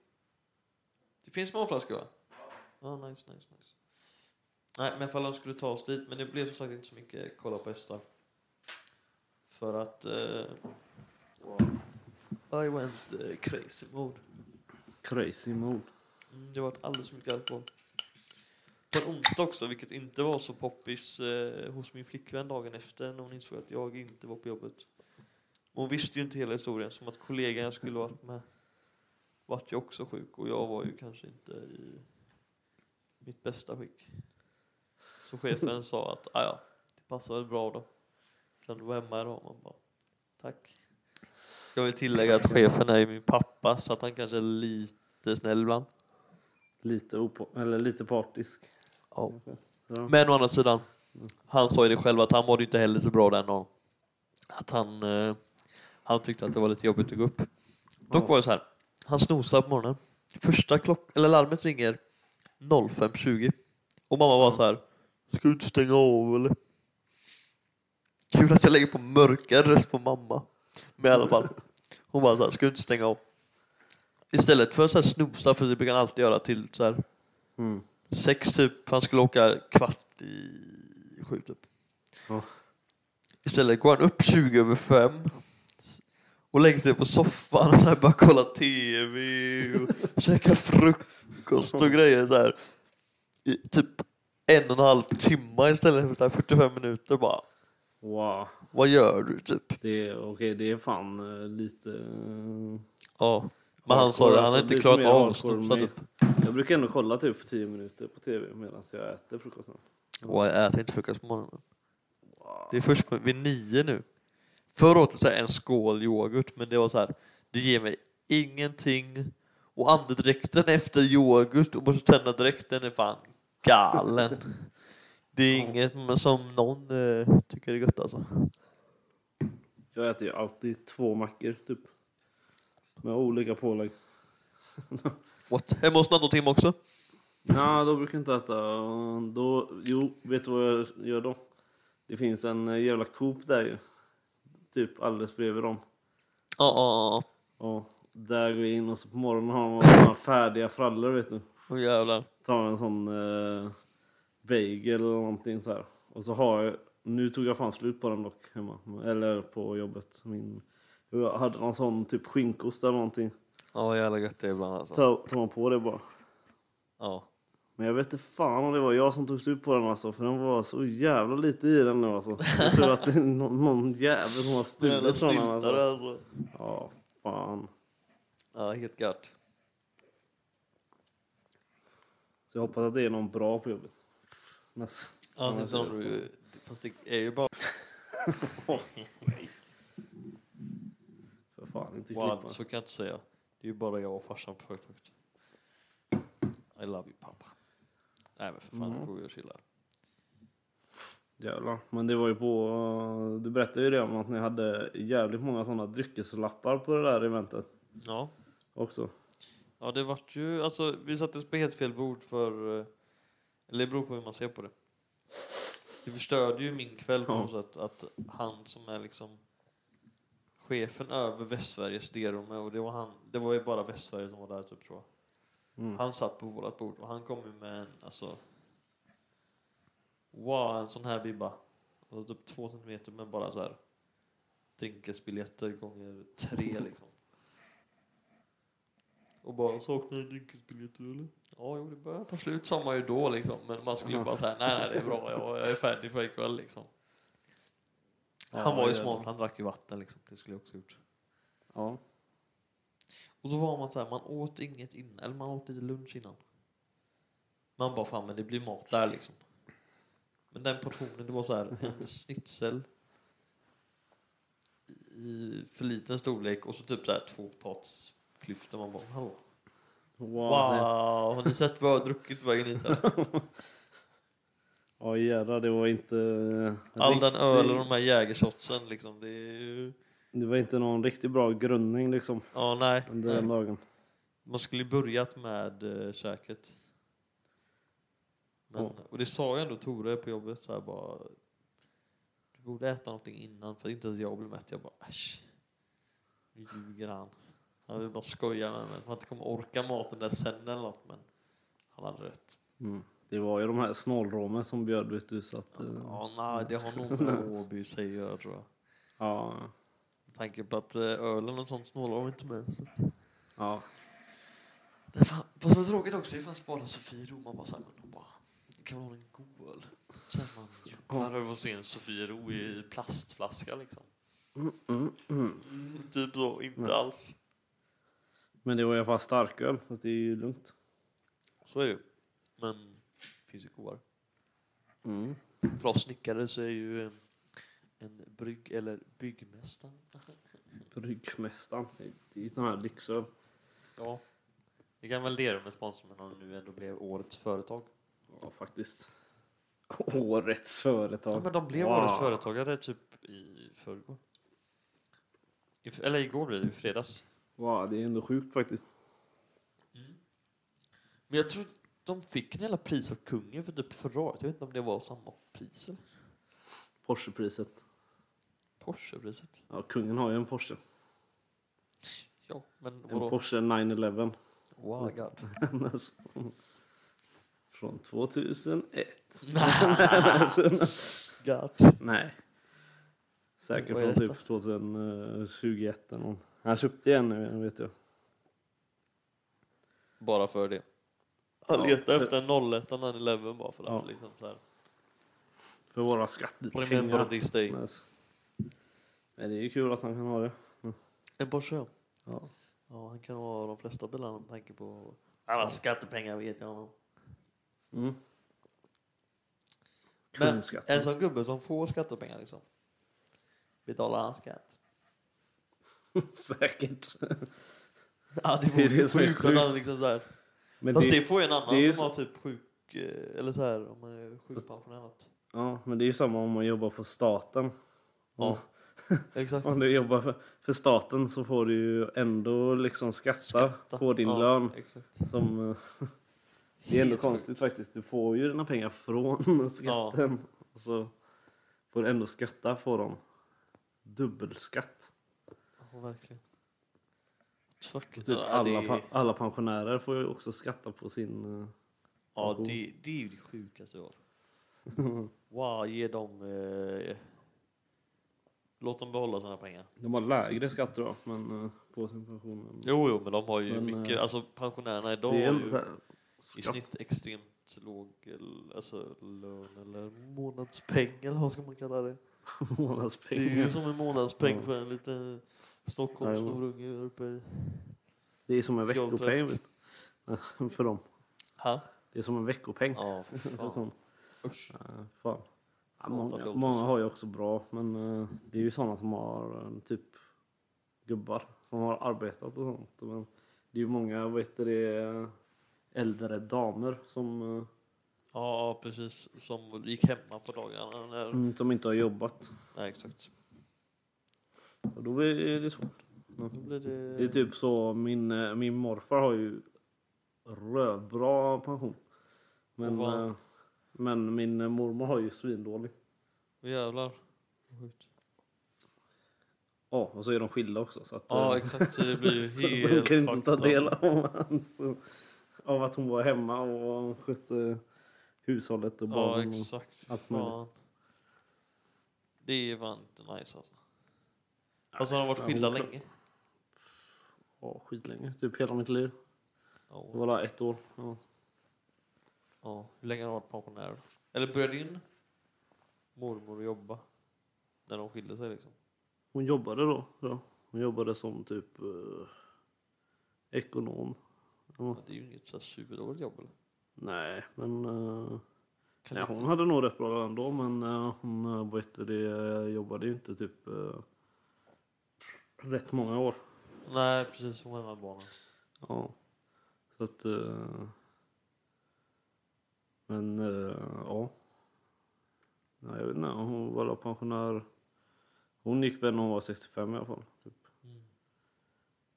Speaker 1: Det finns småflaskor va? Ja. nice, nice, nice. Nej, men ifall de skulle ta oss dit. Men det blev som sagt inte så mycket kolla på hästar. För att... Eh, I went eh, crazy mode.
Speaker 2: Crazy mode.
Speaker 1: Mm, det var alldeles för mycket alkohol. På en onsdag också, vilket inte var så poppis eh, hos min flickvän dagen efter när hon insåg att jag inte var på jobbet. Hon visste ju inte hela historien, som att kollegan jag skulle varit med vart ju också sjuk och jag var ju kanske inte i mitt bästa skick. Så chefen sa att "Ah, ja, det passar väl bra då. Kan du vara hemma idag? Man bara, tack. Ska vi tillägga att chefen är ju min pappa så att han kanske är lite snäll ibland.
Speaker 2: Lite, opo- eller lite partisk.
Speaker 1: Ja.
Speaker 2: Ja.
Speaker 1: Men å andra sidan, han sa ju det själv att han mådde inte heller så bra den dagen. Att han, eh, han tyckte att det var lite jobbigt att gå upp. Dock var det så här. Han snosade på morgonen. Första klock, eller larmet ringer 05.20. Och mamma var så här. Ska du inte stänga av eller? Kul att jag lägger på mörkare röst på mamma. Men i alla fall. Hon bara så här. Ska du inte stänga av? Istället för att så här snosa, för det brukar han alltid göra till så här
Speaker 2: Mm.
Speaker 1: sex typ, han skulle åka kvart i sju typ.
Speaker 2: Ja.
Speaker 1: Istället går han upp 20 över fem och lägger sig på soffan och så här bara kolla TV och käka frukost och grejer så här. I typ en och en halv timme istället för så här 45 minuter bara.
Speaker 2: Wow.
Speaker 1: Vad gör du typ?
Speaker 2: Det är, okej, det är fan eh, lite... eh,
Speaker 1: Ja. Men han sa
Speaker 2: hardcore,
Speaker 1: det, han har
Speaker 2: alltså,
Speaker 1: inte
Speaker 2: lite
Speaker 1: klarat
Speaker 2: mer
Speaker 1: av att
Speaker 2: hardcore än
Speaker 1: snosa
Speaker 2: mig.
Speaker 1: typ.
Speaker 2: Jag brukar ändå kolla typ 10 minuter på tv medan jag äter frukosten.
Speaker 1: Och jag äter inte frukost på morgonen.
Speaker 2: Wow.
Speaker 1: Det är först på, vid nio nu. Förra året så här, en skål yoghurt, men det var så här. Det ger mig ingenting. Och andedräkten efter yoghurt och borsta tänderna-dräkten är fan galen. Det är inget men som någon eh, tycker är gött alltså.
Speaker 2: Jag äter ju alltid två mackor typ. Med olika pålägg.
Speaker 1: What? Hemma hos Nattotim också?
Speaker 2: Ja, då brukar jag inte äta. Då, jo, vet du vad jag gör då? Det finns en eh, jävla Coop där ju. Typ alldeles bredvid dem.
Speaker 1: Ja, ja, ja.
Speaker 2: Ja, där går jag in och så på morgonen har man såna här färdiga frallor vet du.
Speaker 1: Åh jävlar.
Speaker 2: Tar en sån eh, bagel eller någonting så här. Och så har jag, nu tog jag fan slut på den dock hemma. Eller på jobbet. Min, jag hade någon sån typ skinkost eller någonting.
Speaker 1: Ja, vad jävla gött det är ibland alltså.
Speaker 2: Tar, tar man på det bara.
Speaker 1: Ja.
Speaker 2: Men jag vet inte fan om det var jag som tog slut på den alltså. För den var så jävla lite i den nu alltså. Jag tror att det är någon, någon jävel som har
Speaker 1: (laughs) Jävla
Speaker 2: stulit från den
Speaker 1: snyltare
Speaker 2: alltså.
Speaker 1: alltså.
Speaker 2: Ja, fan.
Speaker 1: Ja, helt gött.
Speaker 2: Så jag hoppas att det är någon bra på jobbet. Näs.
Speaker 1: Alltså,
Speaker 2: Annars
Speaker 1: inte
Speaker 2: är
Speaker 1: om
Speaker 2: det-
Speaker 1: du, fast det är ju bara
Speaker 2: För fan, inte klippa.
Speaker 1: Wow, så kan jag inte säga. Det är ju bara jag och farsan på företaget. I love you pappa. Nej men för fan, nu
Speaker 2: Mm.
Speaker 1: får vi och chilla.
Speaker 2: Jävlar. Men det var ju på... Du berättade ju det om att ni hade jävligt många sådana dryckeslappar på det där eventet
Speaker 1: Ja.
Speaker 2: också.
Speaker 1: ja, det vart ju, alltså vi sattes på helt fel bord för, eh, eller det beror på hur man ser på det. Det förstörde ju min kväll på
Speaker 2: Ja.
Speaker 1: något sätt att han som är liksom chefen över Västsveriges Derome och det var han, det var ju bara Västsverige som var där typ tror jag.
Speaker 2: Mm.
Speaker 1: Han satt på vårat bord och han kom ju med en, alltså Wow, en sån här bibba. Och typ två centimeter men bara så här drinkesbiljetter gånger (laughs) tre liksom. Och bara, saknar ni drinkesbiljetter eller? Ja, jo det börjar ta slut samma ju då liksom. Men man skulle ju bara säga, nej nej det är bra, jag, jag är färdig för ikväll liksom. Han var ju
Speaker 2: Ja,
Speaker 1: smart, han drack ju vatten liksom. Det skulle jag också gjort.
Speaker 2: Ja.
Speaker 1: Och så var man så här, man åt inget innan, eller man åt lite lunch innan. Man bara fan men det blir mat där liksom. Men den portionen, det var så här
Speaker 2: (laughs)
Speaker 1: en schnitzel i för liten storlek och så typ så här två potatisklyftor. Man bara hallå.
Speaker 2: Wow.
Speaker 1: Wow, har ni sett vad jag har druckit på vägen
Speaker 2: (laughs)
Speaker 1: hit? eller?
Speaker 2: Ja jädrar, det var inte... eh,
Speaker 1: All den
Speaker 2: riktig-
Speaker 1: öl och de här jägershotsen liksom. Det är ju...
Speaker 2: Det var inte någon riktigt bra grundning liksom
Speaker 1: Ja, nej.
Speaker 2: under den dagen.
Speaker 1: Man skulle ju börjat med eh, käket. Men,
Speaker 2: Ja.
Speaker 1: Och det sa ju ändå Tore på jobbet så här bara. Du borde äta någonting innan för inte ens jag blir mätt. Jag bara äsch. Nu ljuger han. Han vill bara skoja med mig. Man inte kommer orka maten där sen eller något men han hade rätt.
Speaker 2: Mm. Det var ju de här snålråmen som bjöd vet du så att...
Speaker 1: Ja,
Speaker 2: eh,
Speaker 1: nej det har nog med Åby säger jag tror jag.
Speaker 2: Ja.
Speaker 1: Med tanke på att eh, ölen och sånt snålar de inte med. Så. att-
Speaker 2: ja.
Speaker 1: Det är fan, fast vad tråkigt också, det fanns bara Sofiero. Man bara såhär, men de bara, det kan vara en god öl. Sen man jublar över att se en Sofiero i plastflaska liksom.
Speaker 2: Mm, mm, mm.
Speaker 1: Typ så, inte
Speaker 2: Mm.
Speaker 1: alls.
Speaker 2: Men det var i alla fall starköl så att det är ju lugnt.
Speaker 1: Så är det ju. Men, det finns ju godare.
Speaker 2: Mm.
Speaker 1: För oss snickare så är ju eh, en brygg, eller byggmästaren.
Speaker 2: Bryggmästaren, det är ju sån här lyxöl.
Speaker 1: Ja. Vi kan väl det med sponsorn om nu ändå blev årets företag.
Speaker 2: Ja, faktiskt. (laughs) Årets företag.
Speaker 1: Ja, men de blev
Speaker 2: Wow.
Speaker 1: årets företagare typ i förrgår. I, f- eller igår blir det, i fredags.
Speaker 2: Wow, det är ändå sjukt faktiskt.
Speaker 1: Mm. Men jag tror de fick en jävla pris av kungen för typ förra året. Jag vet inte om det var samma pris. eller?
Speaker 2: Porschepriset.
Speaker 1: Porschepriset.
Speaker 2: Ja, kungen har ju en Porsche.
Speaker 1: Ja, men
Speaker 2: En
Speaker 1: vadå?
Speaker 2: Porsche 911. (laughs)
Speaker 1: Wow, god.
Speaker 2: Alltså,
Speaker 1: (laughs)
Speaker 2: Från 2001.
Speaker 1: god.
Speaker 2: (laughs) Nej. Säkert
Speaker 1: Vad är
Speaker 2: från
Speaker 1: det
Speaker 2: typ 2021 eller någon. Han köpte igen nu vet jag.
Speaker 1: Bara för det. Han
Speaker 2: Ja.
Speaker 1: letar efter en 01 och 911 bara för att
Speaker 2: Ja.
Speaker 1: liksom så här.
Speaker 2: För våra
Speaker 1: Remember
Speaker 2: skattepengar.
Speaker 1: this day.
Speaker 2: Alltså. Nej, det är ju kul att han kan ha det.
Speaker 1: En Porsche ja.
Speaker 2: Ja.
Speaker 1: Ja, han kan ha de flesta bilarna med tanke på alla skattepengar vet jag honom.
Speaker 2: Mm.
Speaker 1: Men alltså-
Speaker 2: Kungskatten.
Speaker 1: en sån gubbe som får skattepengar liksom. Betalar han skatt?
Speaker 2: (laughs) Säkert.
Speaker 1: Ja, det
Speaker 2: Det är
Speaker 1: vore
Speaker 2: det som är
Speaker 1: sjukt att
Speaker 2: sjukt.
Speaker 1: han liksom så här.
Speaker 2: Men
Speaker 1: Fast
Speaker 2: det,
Speaker 1: det får ju en annan
Speaker 2: det är ju
Speaker 1: som har typ sjuk, eh, eller så här om man är sjukpensionär eller något.
Speaker 2: ja, men det är ju samma om man jobbar på staten.
Speaker 1: Ja, (laughs) exakt.
Speaker 2: Mm. Om du jobbar för, för staten så får du ju ändå liksom skatta,
Speaker 1: Skatta.
Speaker 2: på din
Speaker 1: ja,
Speaker 2: lön.
Speaker 1: Exakt.
Speaker 2: Som, eh, det är ändå
Speaker 1: Helt
Speaker 2: konstigt faktiskt. Du får ju dina pengar från (laughs) skatten. Och så får du ändå skatta på dem. Dubbelskatt.
Speaker 1: Ja, verkligen. Fuck.
Speaker 2: Och typ
Speaker 1: Ja,
Speaker 2: alla,
Speaker 1: det,
Speaker 2: pa- alla pensionärer får ju också skatta på sin... eh,
Speaker 1: ja det, det är ju det sjukaste jag har.
Speaker 2: (laughs)
Speaker 1: Wow, ge dem... Eh, låt dem behålla sina pengar.
Speaker 2: De har lägre skatt då, men eh, på sin pension.
Speaker 1: Jo, jo, men de har ju
Speaker 2: Men, eh,
Speaker 1: mycket, alltså pensionärerna idag har
Speaker 2: det är ändå så
Speaker 1: ju
Speaker 2: här,
Speaker 1: i
Speaker 2: skatt.
Speaker 1: snitt extremt låg eh, alltså, lön eller månadspeng eller vad ska man kalla det? Det är ju
Speaker 2: månadspengar.
Speaker 1: som en månadspeng
Speaker 2: Ja.
Speaker 1: för en liten Stockholmssnorunge uppe i...
Speaker 2: Det är som en
Speaker 1: Fjolträsk.
Speaker 2: veckopeng vet du. (laughs) för dem.
Speaker 1: Ha?
Speaker 2: Det är som en veckopeng.
Speaker 1: Ja,
Speaker 2: (laughs)
Speaker 1: fy
Speaker 2: För
Speaker 1: fan.
Speaker 2: sån.
Speaker 1: Usch.
Speaker 2: Eh, Fan. Ja, många,
Speaker 1: 8-14.
Speaker 2: många har ju också bra, men eh, det är ju sådana som har eh, typ gubbar som har arbetat och sånt. Men det är ju många, vad heter det, äldre damer som, eh,
Speaker 1: Ja, precis. Som gick hemma på dagarna. När...
Speaker 2: mm, som inte har jobbat.
Speaker 1: Nej, exakt.
Speaker 2: Och då blir det svårt. Mm.
Speaker 1: Då blir det...
Speaker 2: Det är typ så, min, eh, min morfar har ju rövbra pension. Men,
Speaker 1: Och vad?
Speaker 2: eh, men min mormor har ju svindålig.
Speaker 1: Jävlar.
Speaker 2: (laughs) Ja, och så är de skilda också. Så att,
Speaker 1: Ja,
Speaker 2: eh,
Speaker 1: exakt. Så det blir ju
Speaker 2: (laughs) Så
Speaker 1: helt
Speaker 2: hon kan inte ta
Speaker 1: fucked up.
Speaker 2: del av, (laughs) hans, av att hon var hemma och skötte hushållet och
Speaker 1: Ja,
Speaker 2: barnen. och-
Speaker 1: exakt. Fy
Speaker 2: allt möjligt.
Speaker 1: Fan. Det är fan inte nice alltså. Alltså
Speaker 2: Nej,
Speaker 1: har de varit
Speaker 2: men
Speaker 1: skilda
Speaker 2: hon klar-
Speaker 1: länge?
Speaker 2: Ja, skitlänge. Typ hela mitt liv.
Speaker 1: Ja.
Speaker 2: Det var där ett år. Ja.
Speaker 1: ja. Hur länge har de varit pensionärer? Eller började din mormor jobba? När de skilde sig liksom?
Speaker 2: Hon jobbade då. Ja. Hon jobbade som typ eh, ekonom. Ja.
Speaker 1: Men det är ju inget så här superdåligt jobb eller?
Speaker 2: Nej, men eh,
Speaker 1: Kan
Speaker 2: nej,
Speaker 1: inte-
Speaker 2: hon hade nog rätt bra lön då. Men eh, hon eh, vad heter det, jobbade ju inte typ eh, rätt många år.
Speaker 1: Nej precis, hon var hemma med barnen.
Speaker 2: Ja. Så att... eh, men eh, ja. Nej, jag vet inte. Hon var väl pensionär. Hon gick väl när hon var 65 i alla fall. Typ,
Speaker 1: Mm.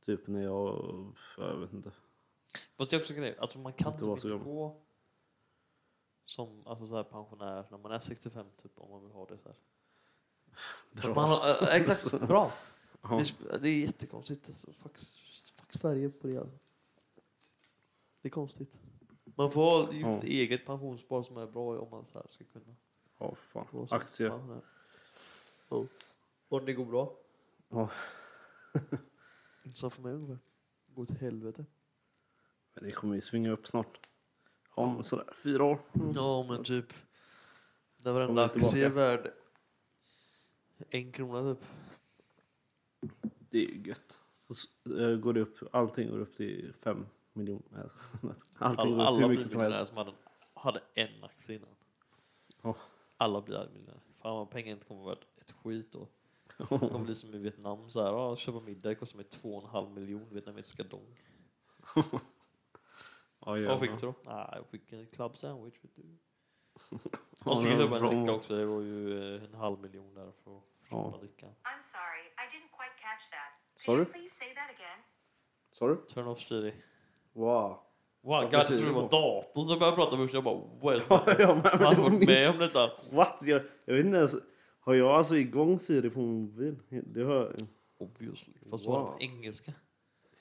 Speaker 2: typ när jag... Jag vet inte.
Speaker 1: Fast det är också en grej, alltså man kan
Speaker 2: Inte vara
Speaker 1: typ
Speaker 2: så
Speaker 1: inte
Speaker 2: gammal.
Speaker 1: gå som alltså så här pensionär när man är 65 typ om man vill ha det så här. För
Speaker 2: Bra.
Speaker 1: att Man har, eh,
Speaker 2: Så.
Speaker 1: exakt, bra!
Speaker 2: (laughs) ja.
Speaker 1: Det, sp- det är jättekonstigt. Alltså, fuck, fuck Sverige på det. Alltså. Det är konstigt. Man får ha ju ett
Speaker 2: Ja.
Speaker 1: eget pensionsspar som är bra om man så här ska kunna
Speaker 2: ja, fan.
Speaker 1: gå som
Speaker 2: Aktier.
Speaker 1: pensionär. Ja. Om det går bra.
Speaker 2: Ja.
Speaker 1: Inte som för mig ungefär. Går till helvete.
Speaker 2: Men det kommer ju svinga upp snart. Om sådär fyra år.
Speaker 1: Ja men typ. Där
Speaker 2: Kommer
Speaker 1: varenda
Speaker 2: Mm. vi tillbaka.
Speaker 1: aktie är värd en krona typ.
Speaker 2: Det är ju gött. Så s- eh, går det upp, allting går upp till fem miljoner. Nej, jag skojar. Allting
Speaker 1: All,
Speaker 2: går upp hur
Speaker 1: alla blir
Speaker 2: mycket som helst.
Speaker 1: miljonärer som hade, hade en aktie innan.
Speaker 2: Ja.
Speaker 1: Alla blir miljonärer. Fan vad pengar inte kommer vara värt ett skit
Speaker 2: (laughs)
Speaker 1: då. Det kommer bli som i Vietnam så här. Ja, köpa middag kostar mig 2,5 miljon vietnamesiska dong.
Speaker 2: Ja,
Speaker 1: Vad fick
Speaker 2: jävlar.
Speaker 1: du då? Nej, jag fick en club sandwich vet (laughs) du.
Speaker 2: Ja,
Speaker 1: Och så fick jag
Speaker 2: det
Speaker 1: köpa
Speaker 2: var
Speaker 1: en dricka
Speaker 2: bra.
Speaker 1: också. Det var ju eh, en halv miljon där för att
Speaker 2: Ja.
Speaker 1: köpa drickan.
Speaker 3: I'm sorry, I didn't quite catch
Speaker 2: Sa
Speaker 3: catch that. Could you
Speaker 2: du?
Speaker 3: please say that again?
Speaker 2: Sa du?
Speaker 1: Turn off Siri.
Speaker 2: Wow. (laughs)
Speaker 1: Wow,
Speaker 2: Varför
Speaker 1: God, jag
Speaker 2: säger
Speaker 1: trodde det
Speaker 2: du
Speaker 1: var datorn som började prata först. Jag bara (laughs) well,
Speaker 2: ja, men,
Speaker 1: jag har aldrig varit med
Speaker 2: minst-
Speaker 1: om detta.
Speaker 2: What? Jag, jag vet inte ens. Har jag alltså igång Siri på min mobil? Det har
Speaker 1: Obviously. Fast så var det
Speaker 2: Wow.
Speaker 1: på engelska.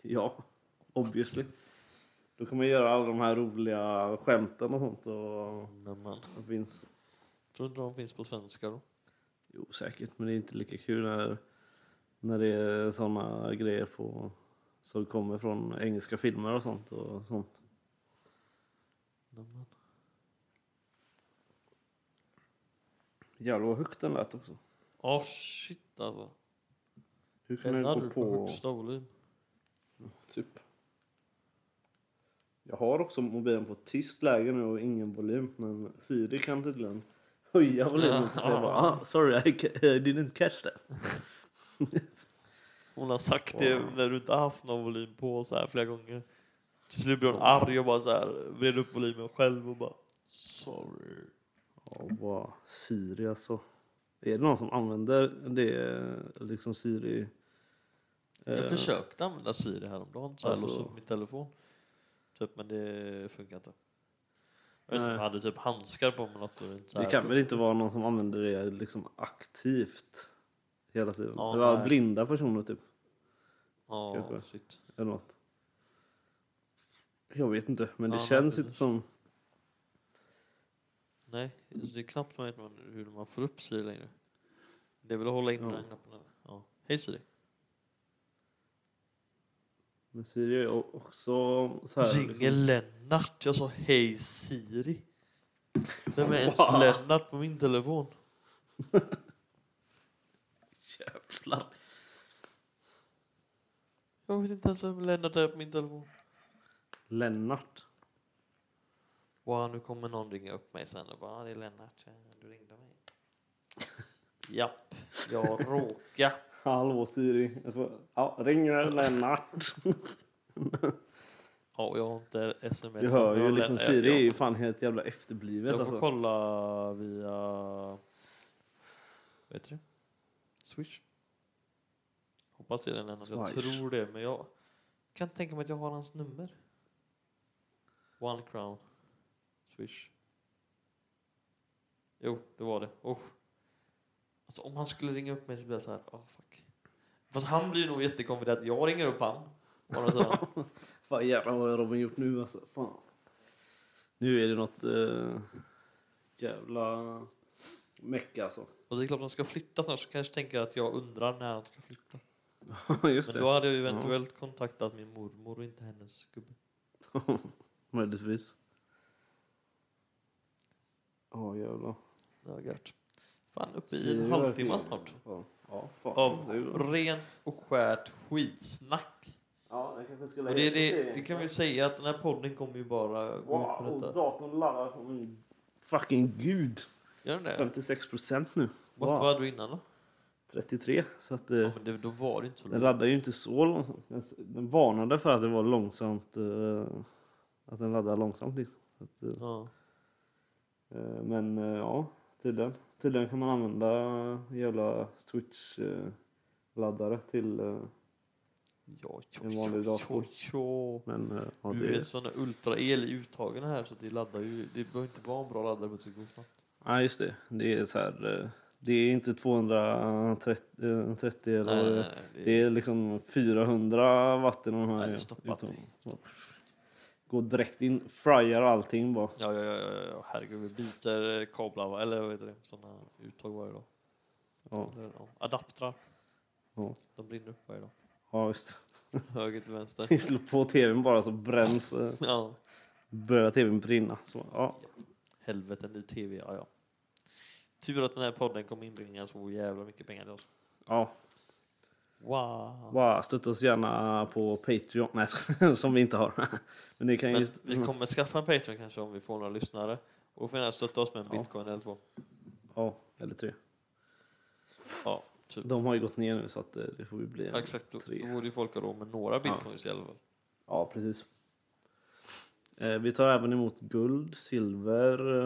Speaker 2: Ja, obviously. Då kan man göra alla de här roliga skämten och sånt. Och
Speaker 1: Men man,
Speaker 2: det finns.
Speaker 1: tror inte de finns på svenska då?
Speaker 2: Jo, säkert. Men det är inte lika kul när, när det är såna grejer på, som kommer från engelska filmer och sånt. Och sånt.
Speaker 1: Nämen.
Speaker 2: Jävlar vad högt den lät också.
Speaker 1: Ah shit alltså.
Speaker 2: Hur kan den
Speaker 1: Den hade
Speaker 2: gå
Speaker 1: du på
Speaker 2: på?
Speaker 1: högsta volym.
Speaker 2: Typ. Jag har också mobilen på tyst läge nu och ingen volym. Men Siri kan tydligen höja volymen. Så jag bara, ah, sorry I, ca- (laughs) I didn't catch that.
Speaker 1: Hon har sagt det när du inte haft någon volym på så här flera gånger. Till slut blev hon arg och bara så här vred upp volymen själv och bara Sorry.
Speaker 2: Ja, vad Siri alltså. Är det någon som använder det, liksom Siri?
Speaker 1: Jag
Speaker 2: Eh,
Speaker 1: försökte använda Siri häromdagen, så här,
Speaker 2: Alltså-
Speaker 1: låsa upp min telefon. Typ, men det funkar inte. Jag vet inte om
Speaker 2: Nej.
Speaker 1: jag hade typ handskar på mig något. Och inte så
Speaker 2: Det
Speaker 1: här-
Speaker 2: kan väl inte vara någon som använder det liksom aktivt hela tiden?
Speaker 1: Ja,
Speaker 2: Eller
Speaker 1: nej.
Speaker 2: blinda personer typ,
Speaker 1: Ja,
Speaker 2: kanske.
Speaker 1: shit.
Speaker 2: eller något. Jag vet inte, men det
Speaker 1: Ja, nej,
Speaker 2: känns inte
Speaker 1: precis.
Speaker 2: som...
Speaker 1: Nej, alltså det är knappt man vet man- hur man får upp Siri längre. Det är väl att hålla in
Speaker 2: Ja.
Speaker 1: den här knappen. eller? Ja. Hej Siri.
Speaker 2: Men Siri är o- också så här...
Speaker 1: Ringer Lennart? Jag sa hej Siri. Vem är ens
Speaker 2: Wow.
Speaker 1: Lennart på min telefon?
Speaker 2: (laughs) Jävlar!
Speaker 1: Jag vet inte ens vem Lennart är på min telefon.
Speaker 2: Lennart.
Speaker 1: Wow, nu kommer någon ringa upp mig sen och bara "Ah, det är Lennart, eh, du ringde mig. Japp, jag råkar.
Speaker 2: Hallå Siri. Jag ska- Ja,
Speaker 1: (laughs)
Speaker 2: ringer Lennart.
Speaker 1: Ja, och jag har inte sms.
Speaker 2: Du hör ju liksom, Siri är
Speaker 1: Jag,
Speaker 2: ju
Speaker 1: jag,
Speaker 2: fan helt jävla efterblivet
Speaker 1: jag får
Speaker 2: alltså.
Speaker 1: kolla via... Vad heter det? Swish? Hoppas det är den Lennart. Jag
Speaker 2: Swish.
Speaker 1: tror det, men jag kan inte tänka mig att jag har hans nummer. One crown. Swish. Jo, det var det. Oh. Alltså om han skulle ringa upp mig så blir jag så här, ah fuck. Fast han blir nog jättekonfid att jag ringer upp han. Å andra
Speaker 2: (laughs)
Speaker 1: sidan.
Speaker 2: Fan jävlar vad har Robin gjort nu alltså. Fan. Nu är det något eh, jävla meck alltså. (laughs)
Speaker 1: Och det är klart de ska flytta snart så kanske tänker jag att jag undrar när han ska flytta.
Speaker 2: Just
Speaker 1: Men
Speaker 2: det.
Speaker 1: då hade jag ju eventuellt kontaktat min mormor och inte hennes gubbe.
Speaker 2: (laughs) Möjligtvis. Ja jävlar.
Speaker 1: Ja, gött. Fan, uppe i
Speaker 2: Siri
Speaker 1: en halvtimme
Speaker 2: verkar-
Speaker 1: snart.
Speaker 2: Ja, ja fan.
Speaker 1: Av
Speaker 2: Det är bra.
Speaker 1: rent och skärt skitsnack.
Speaker 2: Ja, jag kanske skulle
Speaker 1: Och det, är det, det kan vi ju säga att den här podden kommer ju bara gå ut på
Speaker 2: Wow,
Speaker 1: detta.
Speaker 2: datorn laddar som en fucking gud.
Speaker 1: Gör den det?
Speaker 2: 56 procent nu.
Speaker 1: Vad
Speaker 2: Wow.
Speaker 1: var du innan då?
Speaker 2: 33. Så att eh,
Speaker 1: Ja, men det, då var det inte så
Speaker 2: Den
Speaker 1: långt.
Speaker 2: laddar ju inte så långsamt. Den, den varnade för att det var långsamt. eh, att den laddar långsamt liksom. Så Att, eh,
Speaker 1: Ja.
Speaker 2: eh, men eh, ja, tydligen. Tydligen kan man använda jävla Twitch-laddare till... eh,
Speaker 1: Ja, ja,
Speaker 2: En
Speaker 1: ja,
Speaker 2: vanlig
Speaker 1: ja,
Speaker 2: dator.
Speaker 1: ja.
Speaker 2: men eh, ja,
Speaker 1: Du vet
Speaker 2: det...
Speaker 1: sådana ultrael i uttagen här så att det laddar ju. Det behöver inte vara en bra laddare för att det ska gå snabbt.
Speaker 2: Ja, just det. Det är så här... eh, det är inte 230 eh, 30 eller...
Speaker 1: Nej, nej, nej,
Speaker 2: Det är liksom 400 watt i de
Speaker 1: Nej,
Speaker 2: här.
Speaker 1: Eh. det
Speaker 2: ja,
Speaker 1: stoppar
Speaker 2: utom-
Speaker 1: inte.
Speaker 2: så. Går direkt in, fryar allting bara.
Speaker 1: Ja, ja, ja, ja, ja, herregud, vi byter eh, kablar, va? eller vad heter det, sådana uttag varje dag.
Speaker 2: Ja,
Speaker 1: Eller, ja, Adaptrar,
Speaker 2: ja,
Speaker 1: de brinner upp varje dag.
Speaker 2: ja just
Speaker 1: Höger till vänster.
Speaker 2: Vi (laughs) slår på tvn bara så bränns, eh,
Speaker 1: Ja,
Speaker 2: börjar tvn brinna. Så, ja.
Speaker 1: helvete, ny tv, ja, ja. Tur att den här podden kommer inbringa så jävla mycket pengar till oss.
Speaker 2: Ja.
Speaker 1: Wow!
Speaker 2: Bara stötta oss gärna på Patreon, nej (laughs) som vi inte har. (laughs) Men ni kan
Speaker 1: Men
Speaker 2: just...
Speaker 1: vi kommer skaffa en Patreon kanske om vi får några lyssnare. Och då får ni gärna stötta oss med en
Speaker 2: Ja.
Speaker 1: bitcoin eller två.
Speaker 2: Ja, eller tre.
Speaker 1: Ja, typ.
Speaker 2: De har ju gått ner nu så att eh, det får ju bli en
Speaker 1: Ja, exakt, då då
Speaker 2: tre.
Speaker 1: borde ju folk ha råd med några bitcoins i alla fall.
Speaker 2: Ja, precis. Eh, Vi tar även emot guld, silver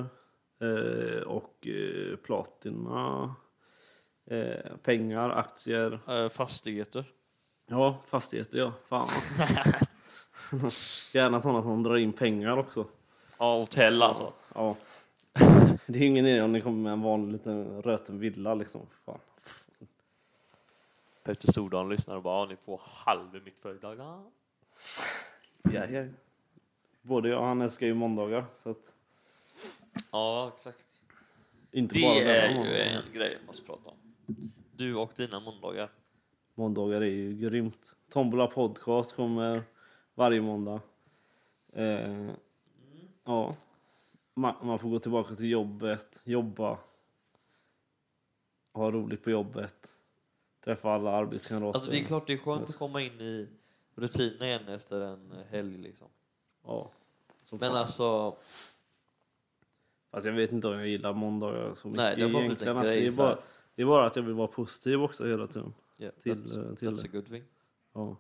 Speaker 2: eh, och eh, platina. eh, Pengar, aktier,
Speaker 1: Eh, fastigheter.
Speaker 2: Ja, fastigheter ja.
Speaker 1: (laughs)
Speaker 2: Fan. Gärna sådana som drar in pengar också.
Speaker 1: Ja, hotell alltså.
Speaker 2: Ja. Det är ju ingen idé om ni kommer med en vanlig liten röten villa liksom. Fan.
Speaker 1: Petter Stordalen lyssnar och bara, ja, ni får halva mitt företag. Ja.
Speaker 2: Ja, ja. Både jag och han älskar ju måndagar. Så att
Speaker 1: Ja, exakt.
Speaker 2: inte bara
Speaker 1: Det
Speaker 2: denna
Speaker 1: är ju
Speaker 2: måndagen.
Speaker 1: en grej vi måste prata om. Du och dina måndagar.
Speaker 2: Alltså, Måndagar är ju grymt. Tombola podcast kommer varje måndag. Eh, ja. Man, man får gå tillbaka till jobbet, jobba, ha roligt på jobbet, träffa alla arbetskamrater.
Speaker 1: Alltså det är klart det är skönt att komma in i rutinen igen efter en helg liksom.
Speaker 2: ja, som
Speaker 1: Men
Speaker 2: fan.
Speaker 1: alltså,
Speaker 2: Alltså, jag vet inte om jag gillar måndagar så mycket
Speaker 1: Nej, det har bara blivit en
Speaker 2: egentligen. Alltså,
Speaker 1: grej,
Speaker 2: det, är
Speaker 1: så här.
Speaker 2: bara, det är bara att jag vill vara positiv också hela tiden.
Speaker 1: yeah,
Speaker 2: Till,
Speaker 1: that's,
Speaker 2: eh, till
Speaker 1: that's
Speaker 2: det.
Speaker 1: a good thing.
Speaker 2: Ja.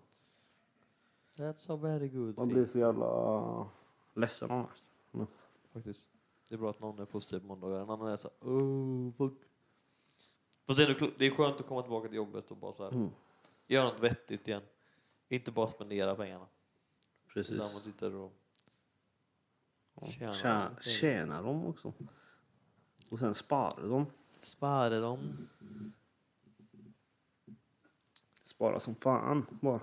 Speaker 1: That's a very good thing.
Speaker 2: Man blir så jävla ledsen annars.
Speaker 1: Faktiskt. Det är bra att någon är positiv på måndagar, en annan är såhär oh, fuck. Fast det är, ändå klo- det är skönt att komma tillbaka till jobbet och bara så här,
Speaker 2: Mm.
Speaker 1: göra något vettigt igen. Inte bara spendera pengarna. Utan man
Speaker 2: Precis.
Speaker 1: sitter och Tjäna
Speaker 2: Tjäna,
Speaker 1: pengar.
Speaker 2: tjäna dem också. Och sen spara dem.
Speaker 1: sparar dem.
Speaker 2: Spara som fan bara.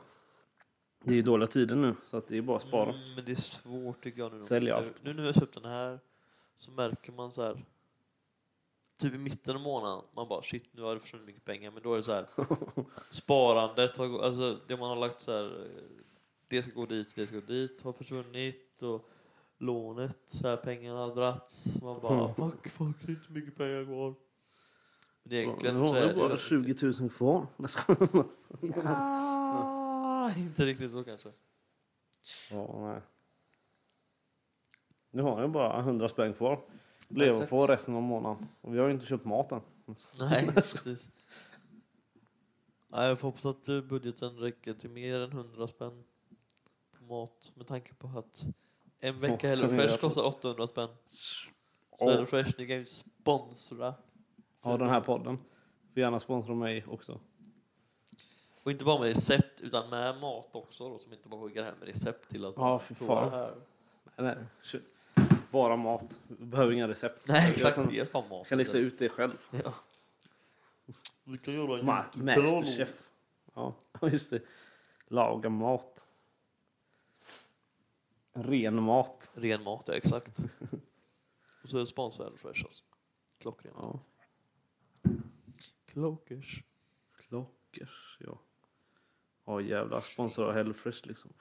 Speaker 2: Det är ju dåliga tider nu så att det är bara att spara. (laughs)
Speaker 1: Mm, men det är svårt tycker jag nu.
Speaker 2: Sälja
Speaker 1: nu,
Speaker 2: allt.
Speaker 1: nu när jag köpt den här så märker man så här. Typ i mitten av månaden, man bara shit nu har det försvunnit mycket pengar men då är det så
Speaker 2: (laughs)
Speaker 1: här. Sparandet, har, gå- alltså det man har lagt så här. eh, Det ska gå dit, det ska gå dit har försvunnit och lånet, så här, pengarna har dragits. Man bara
Speaker 2: Mm.
Speaker 1: fuck, fuck det är inte mycket pengar kvar. Men
Speaker 2: Nu
Speaker 1: egentligen så
Speaker 2: har
Speaker 1: är
Speaker 2: jag
Speaker 1: det
Speaker 2: bara 20 000 kvar. (laughs) Jag skojar.
Speaker 1: Ah, inte riktigt så kanske.
Speaker 2: ja, nej. Nu har jag bara 100 spänn kvar. Leva
Speaker 1: Exakt.
Speaker 2: på resten av månaden. Och vi har ju inte köpt mat än.
Speaker 1: Nej, (laughs) precis. Nej, jag får hoppas att eh, budgeten räcker till mer än 100 spänn på mat med tanke på att en
Speaker 2: Mat
Speaker 1: vecka
Speaker 2: som är
Speaker 1: HelloFresh
Speaker 2: jävla-
Speaker 1: kostar 800 spänn. Så
Speaker 2: Ja.
Speaker 1: HelloFresh, ni kan ju sponsra.
Speaker 2: Av den här podden. Får gärna sponsra mig också.
Speaker 1: Och inte bara med recept utan med mat också då, som inte bara skickar hem recept till oss.
Speaker 2: Ja, fy
Speaker 1: Prova det
Speaker 2: fan.
Speaker 1: här.
Speaker 2: Nej, nej. Kö- Bara mat. Vi behöver inga recept.
Speaker 1: Nej,
Speaker 2: Jag
Speaker 1: exakt.
Speaker 2: kan,
Speaker 1: Ge oss bara mat.
Speaker 2: kan lista ut det själv.
Speaker 1: Ja. Du kan göra en
Speaker 2: Ma-
Speaker 1: jättebra låt.
Speaker 2: Masterchef. Ja, (laughs) just det. Laga mat. Ren mat.
Speaker 1: Ren mat, ja exakt. Och så sponsrar HelloFresh oss. Klockren.
Speaker 2: Ja.
Speaker 1: Klockers.
Speaker 2: Klockers, ja. Ja, jävlar. Sponsrar Hellfresh liksom.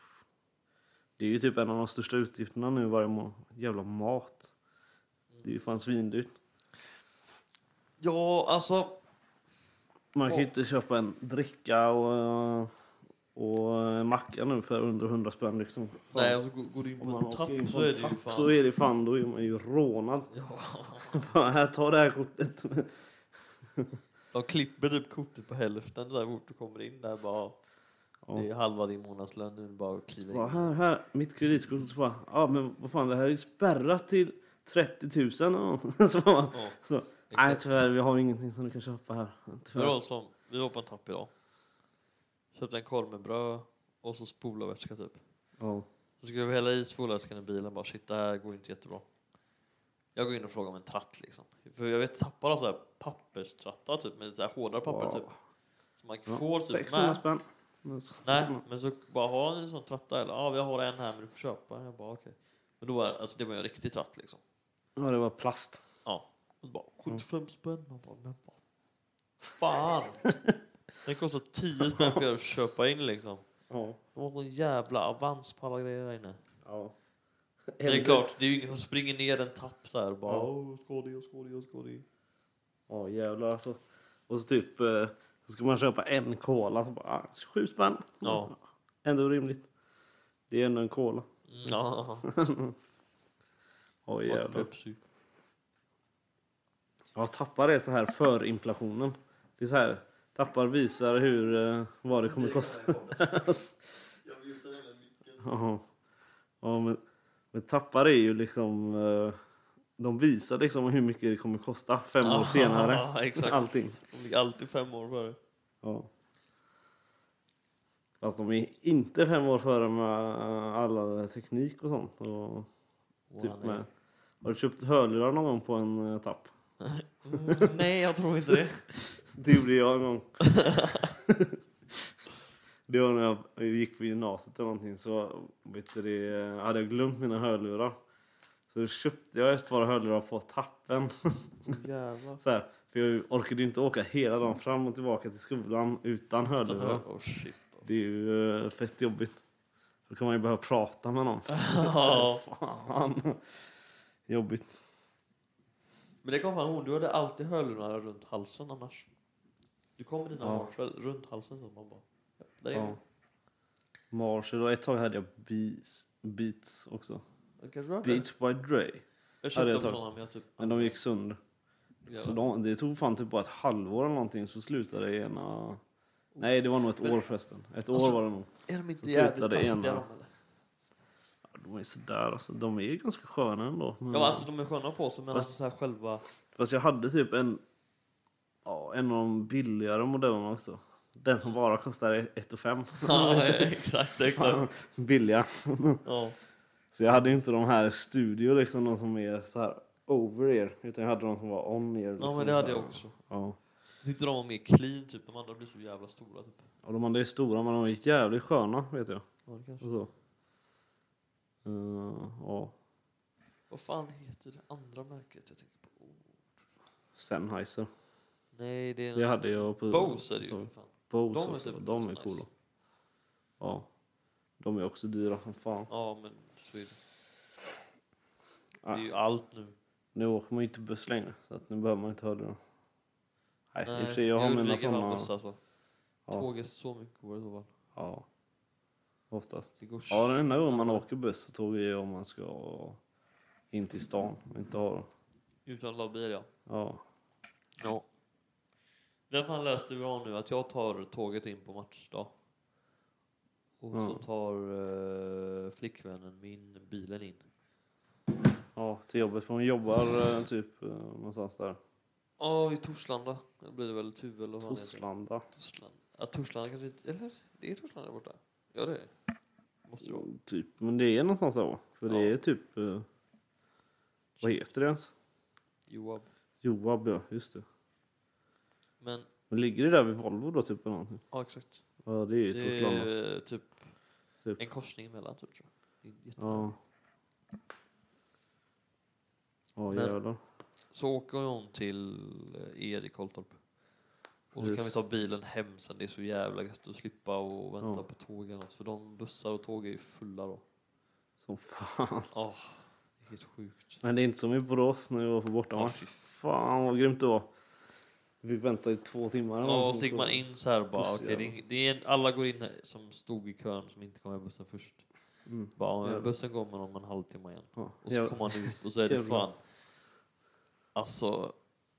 Speaker 2: Det är ju typ en av de största utgifterna nu varje månad. Jävla mat. Det är ju fan svindyrt.
Speaker 1: Ja, alltså.
Speaker 2: Man kan ju inte köpa en dricka och, och en macka nu för under 100 spänn liksom. Fan.
Speaker 1: Nej, alltså, går- går du in
Speaker 2: Om
Speaker 1: på
Speaker 2: man
Speaker 1: en tapp
Speaker 2: åker in
Speaker 1: så
Speaker 2: på
Speaker 1: är
Speaker 2: en
Speaker 1: det ju
Speaker 2: tapp
Speaker 1: fan.
Speaker 2: så är det fan, då är man ju rånad.
Speaker 1: Ja.
Speaker 2: Bara, här, ta det här kortet.
Speaker 1: De klipper typ kortet på hälften så här fort du kommer in där bara. Det är halva din månadslön nu bara kliver
Speaker 2: Bara,
Speaker 1: in.
Speaker 2: här, här, mitt kreditkort. Så bara, ja men vad fan det här är ju spärrat till 30 000. Och (laughs) så bara,
Speaker 1: Ja,
Speaker 2: så, nej
Speaker 1: exakt.
Speaker 2: tyvärr vi har ingenting som du kan köpa här.
Speaker 1: Det var
Speaker 2: Tyvärr.
Speaker 1: som, alltså- vi var på en tapp idag. Köpte en korv med bröd och så spolarvätska typ.
Speaker 2: Ja.
Speaker 1: Så skulle vi hälla i spolarvätskan i bilen bara shit det här går ju inte jättebra. Jag går in och frågar om en tratt liksom. För jag vet tappar har så här papperstrattar typ med så här hårdare papper
Speaker 2: Wow.
Speaker 1: typ. Så man
Speaker 2: Ja,
Speaker 1: får typ
Speaker 2: 600
Speaker 1: med.
Speaker 2: spänn. Men så-
Speaker 1: Nej, men så bara har han en sån tratta eller ja, ah, vi har en här men du får köpa. Jag bara okej. Men då var det, alltså det var ju en riktig tratt liksom.
Speaker 2: Ja det var plast.
Speaker 1: Ja. Och då bara 75 spänn. Man bara, men vad
Speaker 2: (laughs)
Speaker 1: fan. Den kostar 10 spänn för att köpa in liksom.
Speaker 2: Ja.
Speaker 1: De har sån jävla avans på alla grejer här inne.
Speaker 2: ja.
Speaker 1: Men det är klart, det är ju ingen som springer ner en tapp så här och bara
Speaker 2: Ja.
Speaker 1: åh, ska det, ska det, ska det.
Speaker 2: Ja jävlar alltså. Och så typ eh, så ska man köpa en cola. Så bara, ah, 27 spänn.
Speaker 1: Ja.
Speaker 2: Ändå rimligt. Det är ändå en cola.
Speaker 1: Mm, (laughs) Ja,
Speaker 2: Ja
Speaker 1: fuck
Speaker 2: jävlar.
Speaker 1: Pepsi.
Speaker 2: Ja, tappar är så här för inflationen. Det är så här, tappar visar hur, eh, vad det kommer kosta. (laughs) ja, ja, men, men tappar är ju liksom, eh, de visar liksom hur mycket det kommer kosta fem år
Speaker 1: Ja,
Speaker 2: senare.
Speaker 1: (laughs) exakt.
Speaker 2: Allting. Typ
Speaker 1: De ligger alltid fem år före.
Speaker 2: Ja. Fast de är inte fem år före med eh, alla teknik och sånt. Och
Speaker 1: Och
Speaker 2: typ
Speaker 1: han är-
Speaker 2: med. Har du köpt hörlurar någon gång på en eh, tapp?
Speaker 1: Mm, nej, jag tror inte
Speaker 2: (laughs)
Speaker 1: det.
Speaker 2: Det gjorde jag en gång. (laughs) det var när jag gick på gymnasiet eller någonting så vet du, det, hade jag glömt mina hörlurar. Så då köpte jag ett par hörlurar på tappen. (laughs)
Speaker 1: Jävlar.
Speaker 2: så här, för jag orkade ju inte åka hela dagen fram och tillbaka till skolan utan hörlurar.
Speaker 1: Oh, shit. alltså.
Speaker 2: Det är ju eh, fett jobbigt. Då kan man ju behöva prata med någon.
Speaker 1: (laughs) Ja.
Speaker 2: (laughs) Fan. Jobbigt.
Speaker 1: Men det kom fan hon, du hade alltid hörlurarna runt halsen annars. Du kom med dina
Speaker 2: Ja.
Speaker 1: varsel runt halsen så man bara... Ja, där är
Speaker 2: Ja.
Speaker 1: ja.
Speaker 2: Marshall och ett tag hade jag beats, beats också.
Speaker 1: det kanske du hade.
Speaker 2: Beats by Dre.
Speaker 1: Jag köpte
Speaker 2: Ja,
Speaker 1: dem
Speaker 2: det är ett tag.
Speaker 1: från honom, jag typ...
Speaker 2: Men de gick sönder.
Speaker 1: Jävlar.
Speaker 2: Så de, det tog fan typ bara ett halvår eller någonting så slutade det ena... Nej det var nog ett
Speaker 1: Men-
Speaker 2: år förresten. Ett
Speaker 1: Alltså-
Speaker 2: år var det nog.
Speaker 1: Är de inte
Speaker 2: Så
Speaker 1: jävligt
Speaker 2: slutade
Speaker 1: taskiga
Speaker 2: ena.
Speaker 1: de eller?
Speaker 2: Ja, De är sådär alltså. De är ju ganska sköna ändå. Men,
Speaker 1: Ja, alltså de är sköna på sig men
Speaker 2: Mm. Fast-
Speaker 1: alltså så här
Speaker 2: (laughs)
Speaker 1: själva...
Speaker 2: Fast jag hade typ en... Ja, en av de billigare modellerna också. Den som bara kostar 1 och 5.
Speaker 1: Ja, (laughs) exakt, exakt.
Speaker 2: (laughs) Billiga.
Speaker 1: Ja.
Speaker 2: Så jag hade ju inte de här studio liksom, de som är så här over er. Utan jag hade de som var on er.
Speaker 1: ja,
Speaker 2: liksom.
Speaker 1: men det hade jag också.
Speaker 2: Ja.
Speaker 1: Tyckte de var mer clean typ, de andra blev så jävla stora typ.
Speaker 2: Ja, de andra är stora men de är jävligt sköna vet jag.
Speaker 1: Ja, det kanske.
Speaker 2: Och så. Eh, ja,
Speaker 1: Vad fan heter det andra märket jag tänker på? Oh.
Speaker 2: Sennheiser.
Speaker 1: Nej, det är...
Speaker 2: Det hade Alltså. jag på...
Speaker 1: Bose är det ju
Speaker 2: så-
Speaker 1: för fan.
Speaker 2: Bose
Speaker 1: De är
Speaker 2: också.
Speaker 1: typ
Speaker 2: de är
Speaker 1: nice.
Speaker 2: coola. Ja. De är också dyra som fan.
Speaker 1: Ja, men så är det. Det
Speaker 2: Ah.
Speaker 1: är ju allt nu.
Speaker 2: Nu åker man ju inte buss längre så att nu behöver man inte höra dem. Nej, i och för
Speaker 1: Nej,
Speaker 2: sig jag har mina
Speaker 1: undviker fan
Speaker 2: sådana.
Speaker 1: buss, alltså.
Speaker 2: Ja,
Speaker 1: Tåg är så mycket godare i så fall.
Speaker 2: ja. Oftast.
Speaker 1: Det går
Speaker 2: Ja, den enda gången man åker buss och tåg är ju om man ska in till stan och inte ha dem.
Speaker 1: utan labil ja.
Speaker 2: Ja.
Speaker 1: Ja. Den fan läste vi av nu att jag tar tåget in på matchdag. Och så
Speaker 2: Mm.
Speaker 1: tar eh, flickvännen min bilen in.
Speaker 2: ja, till jobbet för hon jobbar eh, typ eh, någonstans där.
Speaker 1: Ja, i Torslanda. Det blir väl Tuve eller vad fan det heter.
Speaker 2: Torslanda.
Speaker 1: Torslanda. Ja, Torslanda kanske inte... Eller? Det är Torslanda där borta. Ja, det är det. Måste det vara.
Speaker 2: Typ, men det är någonstans där va? För det
Speaker 1: Ja.
Speaker 2: är typ... eh, vad heter det ens?
Speaker 1: Joab.
Speaker 2: Joab ja, just det.
Speaker 1: Men,
Speaker 2: Men ligger det där vid Volvo då typ eller någonting?
Speaker 1: ja exakt.
Speaker 2: Ja det är ju
Speaker 1: Det
Speaker 2: Torslanda.
Speaker 1: är eh, typ,
Speaker 2: Typ.
Speaker 1: en korsning emellan typ tror jag. Det är jätte-
Speaker 2: Ja. Ja
Speaker 1: Men-
Speaker 2: jävlar.
Speaker 1: Så åker hon till eh, er i Koltorp. Och så
Speaker 2: Just.
Speaker 1: kan vi ta bilen hem sen. Det är så jävla gött att slippa och vänta
Speaker 2: Ja.
Speaker 1: på tåg eller något. För de bussar och tåg är ju fulla då.
Speaker 2: Som fan.
Speaker 1: Ja, det är helt sjukt.
Speaker 2: Men det är inte som i Borås när vi var på
Speaker 1: Ja,
Speaker 2: bortamatch.
Speaker 1: fy fan.
Speaker 2: Fan vad grymt det var. Vi väntade i två timmar. eller
Speaker 1: Ja, och
Speaker 2: någonting
Speaker 1: så gick man
Speaker 2: på-
Speaker 1: in så här bara.
Speaker 2: Buss,
Speaker 1: Okej, det är, det är, alla går in här som stod i kön som inte kom med bussen först.
Speaker 2: Mm.
Speaker 1: Bara, ja,
Speaker 2: Jävlar.
Speaker 1: bussen kommer om en halvtimme igen.
Speaker 2: Ja.
Speaker 1: Och så
Speaker 2: Ja.
Speaker 1: kommer man ut och (laughs) så är det
Speaker 2: Jävlar.
Speaker 1: fan alltså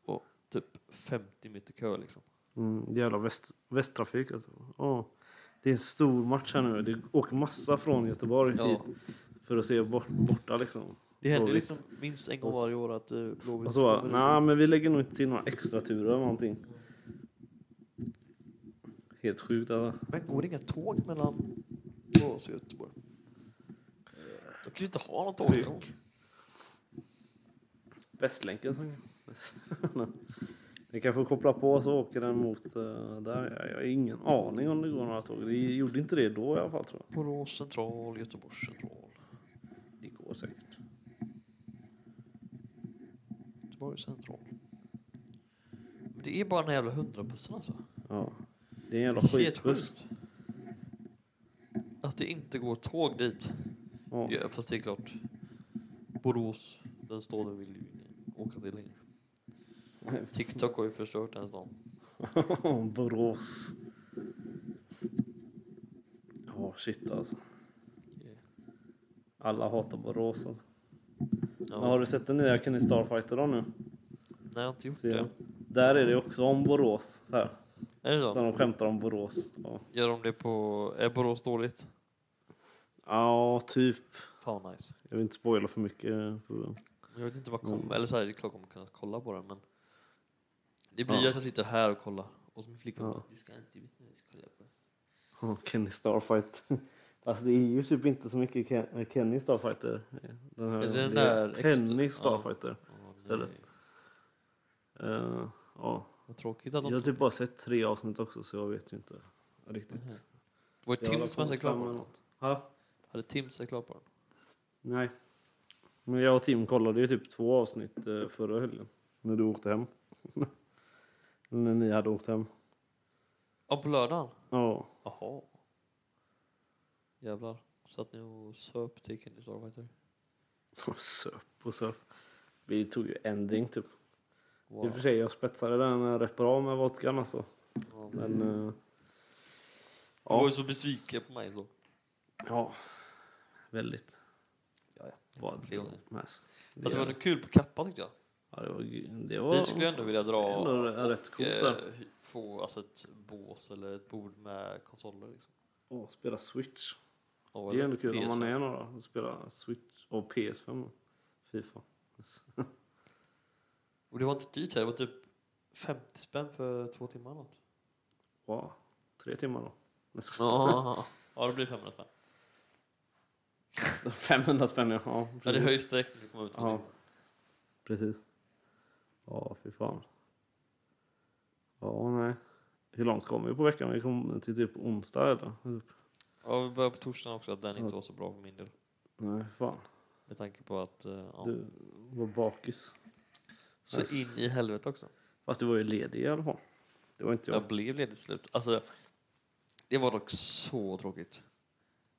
Speaker 1: och typ 50 meter kö liksom.
Speaker 2: Mm, jävla väst, västtrafik alltså. Ja. Det är en stor match här nu. Det åker massa från Göteborg
Speaker 1: Ja.
Speaker 2: hit för att se bort, borta liksom.
Speaker 1: Det händer
Speaker 2: Blåvitt.
Speaker 1: liksom minst en gång
Speaker 2: Och så-
Speaker 1: varje år att eh, Blåvitt
Speaker 2: Och så bara,
Speaker 1: kommer
Speaker 2: Alltså, nej men vi lägger nog inte till några extra turer eller någonting. Helt sjukt alltså.
Speaker 1: Men går det inga tåg mellan Borås och Göteborg? De kan ju inte ha något
Speaker 2: Tryck.
Speaker 1: tåg.
Speaker 2: Västlänken som... (laughs) Ni kanske kopplar på så åker den mot eh, där. Jag- Jag har ingen aning om det går några tåg. Det gjorde inte det då i alla fall tror jag.
Speaker 1: Borås central, Göteborgs central,
Speaker 2: Det går säkert.
Speaker 1: Göteborg central. Men det är bara den här jävla hundrabussen alltså.
Speaker 2: Ja. Det är en jävla
Speaker 1: Helt
Speaker 2: skitbuss.
Speaker 1: sjukt. Att det inte går tåg dit.
Speaker 2: Ja.
Speaker 1: Ja, fast det är klart. Borås, den staden vill ju ingen åka till längre.
Speaker 2: (laughs)
Speaker 1: TikTok har ju förstört den stan.
Speaker 2: Borås. Ja, shit alltså. Alla hatar Borås alltså.
Speaker 1: Ja.
Speaker 2: Men har du sett den nya Kenny Starfighter då nu?
Speaker 1: Nej, jag har inte gjort
Speaker 2: Ser jag.
Speaker 1: det.
Speaker 2: Där är det också om Borås. Så här.
Speaker 1: Är det så?
Speaker 2: Där de skämtar om Borås. Ja,
Speaker 1: Gör de det på... Är Borås dåligt?
Speaker 2: ja typ.
Speaker 1: Fan nice.
Speaker 2: Jag vill inte spoila för mycket. för-
Speaker 1: Jag vet inte vad
Speaker 2: Mm.
Speaker 1: kommer, eller så här, det är klart jag kommer kunna kolla på den men Det blir
Speaker 2: Ja.
Speaker 1: att jag sitter här och kollar och så min flickvän
Speaker 2: Ja.
Speaker 1: bara, du ska inte veta när vi ska kolla på det.
Speaker 2: Ja, Kenny Starfight. (laughs) Alltså det är ju typ inte så mycket Ken- Kenny Starfighter. Den här,
Speaker 1: Är det den
Speaker 2: det är
Speaker 1: där extra-
Speaker 2: Penny
Speaker 1: ja.
Speaker 2: Starfighter.
Speaker 1: Ja, det
Speaker 2: Istället.
Speaker 1: är-
Speaker 2: Eh, ja.
Speaker 1: Vad tråkigt att
Speaker 2: Jag
Speaker 1: de...
Speaker 2: har typ bara sett tre avsnitt också så jag vet ju inte riktigt.
Speaker 1: Mhm. Var det
Speaker 2: Jag har
Speaker 1: Tim som hade
Speaker 2: kommit
Speaker 1: klar
Speaker 2: fram
Speaker 1: på
Speaker 2: med
Speaker 1: den?
Speaker 2: något. Ja,
Speaker 1: Hade Tim sig klar på den?
Speaker 2: nej. Men jag och Tim kollade ju typ två avsnitt eh, förra helgen. När du åkte hem. (laughs) när ni hade åkt hem.
Speaker 1: Ja, på lördagen?
Speaker 2: Ja. (laughs)
Speaker 1: Jaha. Jävlar. Satt ni och söp till Kenny Starfighter?
Speaker 2: Och söp och söp. Vi tog ju en drink typ. I och
Speaker 1: Wow.
Speaker 2: för sig, jag spetsade den eh, rätt bra med vodkan alltså.
Speaker 1: Ja, men-
Speaker 2: Men...
Speaker 1: Du
Speaker 2: eh,
Speaker 1: var
Speaker 2: ja.
Speaker 1: ju så besviken på mig så. Alltså,
Speaker 2: ja. Väldigt.
Speaker 1: Ja, ja.
Speaker 2: Var
Speaker 1: Fler gånger.
Speaker 2: Men alltså,
Speaker 1: Fast det var
Speaker 2: det,
Speaker 1: nog kul på Kappa tyckte jag.
Speaker 2: ja, det var... Det var
Speaker 1: Vi skulle ändå vilja dra
Speaker 2: ändå rätt
Speaker 1: och
Speaker 2: coolt där.
Speaker 1: eh, få alltså, ett bås eller ett bord med konsoler. Liksom.
Speaker 2: Åh, spela Switch.
Speaker 1: Ja,
Speaker 2: Det är
Speaker 1: eller
Speaker 2: ändå kul om
Speaker 1: PS5.
Speaker 2: man är några och spelar Switch och PS5. då. Fifa.
Speaker 1: Och det var inte dyrt här, det var typ 50 spänn för två timmar eller något.
Speaker 2: Wow. Tre timmar då. Nästan. (laughs)
Speaker 1: Ja, (laughs) ja det blir 500 spänn.
Speaker 2: 500 spänn ja. Ja,
Speaker 1: Ja, det
Speaker 2: precis.
Speaker 1: höjs direkt när det kommer ut.
Speaker 2: Ja, precis. Ja, fy fan. Ja, nej. Hur långt kom vi på veckan? Vi kom till typ onsdag eller? Typ.
Speaker 1: Ja, vi började på torsdagen också, att den
Speaker 2: Ja.
Speaker 1: inte var så bra för min del.
Speaker 2: Nej, fan.
Speaker 1: Med tanke på att, eh, ja.
Speaker 2: Du var bakis.
Speaker 1: Så in i helvete också.
Speaker 2: Fast du var ju ledig i alla fall. Det var inte jag.
Speaker 1: Jag blev ledig till slut. Alltså, det var dock så tråkigt.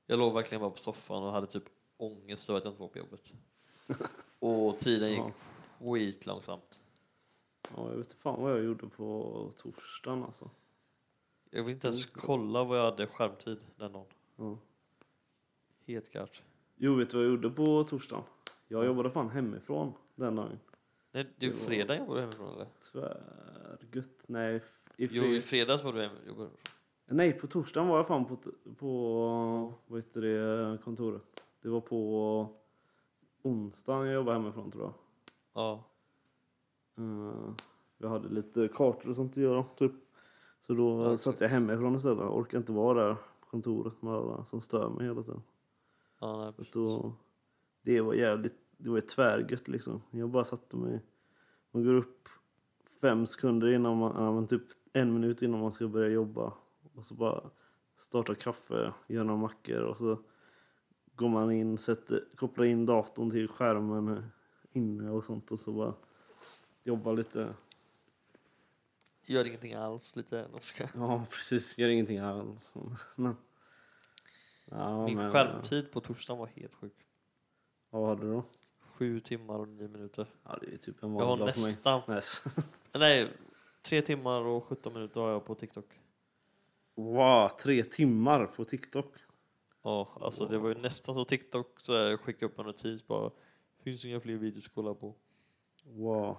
Speaker 1: Jag låg verkligen bara på soffan och hade typ ångest över att jag inte var på
Speaker 2: (laughs)
Speaker 1: jobbet. Och tiden gick
Speaker 2: Ja.
Speaker 1: skitlångsamt.
Speaker 2: Ja, jag vet inte fan vad jag gjorde på torsdagen alltså.
Speaker 1: Jag vill inte ens
Speaker 2: Mm.
Speaker 1: kolla vad jag hade skärmtid den dagen.
Speaker 2: Ja.
Speaker 1: Helt klart.
Speaker 2: Jo, vet du vad jag gjorde på torsdagen? Jag jobbade fan hemifrån den dagen.
Speaker 1: Nej, det är
Speaker 2: Det var-
Speaker 1: fredag jag var hemifrån eller?
Speaker 2: Tvärgött. Nej, i
Speaker 1: Jo, i
Speaker 2: fredags.
Speaker 1: fredags var du hemifrån.
Speaker 2: Nej, på torsdagen var jag fan på, t- på vad heter det, kontoret. Det var på onsdagen jag jobbade hemifrån tror jag.
Speaker 1: Ja.
Speaker 2: Eh, Jag hade lite kartor och sånt att göra typ. Så då
Speaker 1: Ja,
Speaker 2: satt jag hemifrån istället. Jag orkade inte vara där på kontoret med alla som stör mig hela tiden.
Speaker 1: ja nej,
Speaker 2: Så att
Speaker 1: precis.
Speaker 2: då, det var jävligt, det var ju tvärgött liksom. Jag bara satte mig, man går upp fem sekunder innan man, ja, men typ en minut innan man ska börja jobba. Och så bara starta kaffe, gör några mackor och så går man in, sätter, kopplar in datorn till skärmen inne och sånt och så bara jobbar lite.
Speaker 1: Gör ingenting alls lite. Jag ska-
Speaker 2: Ja (laughs) precis, gör ingenting alls. (laughs) Men, ja,
Speaker 1: Min
Speaker 2: men,
Speaker 1: skärmtid på torsdagen var helt sjuk.
Speaker 2: Vad hade du då?
Speaker 1: Sju timmar och nio minuter.
Speaker 2: Ja, det är typ en
Speaker 1: Jag har
Speaker 2: vanlig dag för mig.
Speaker 1: nästan
Speaker 2: Näs.
Speaker 1: Nej, tre timmar och 17 minuter har jag på TikTok.
Speaker 2: Wow, tre timmar på TikTok.
Speaker 1: Ja, alltså det var ju nästan så TikTok så här, skickade upp en notis bara. Finns inga fler videos att kolla på.
Speaker 2: Wow.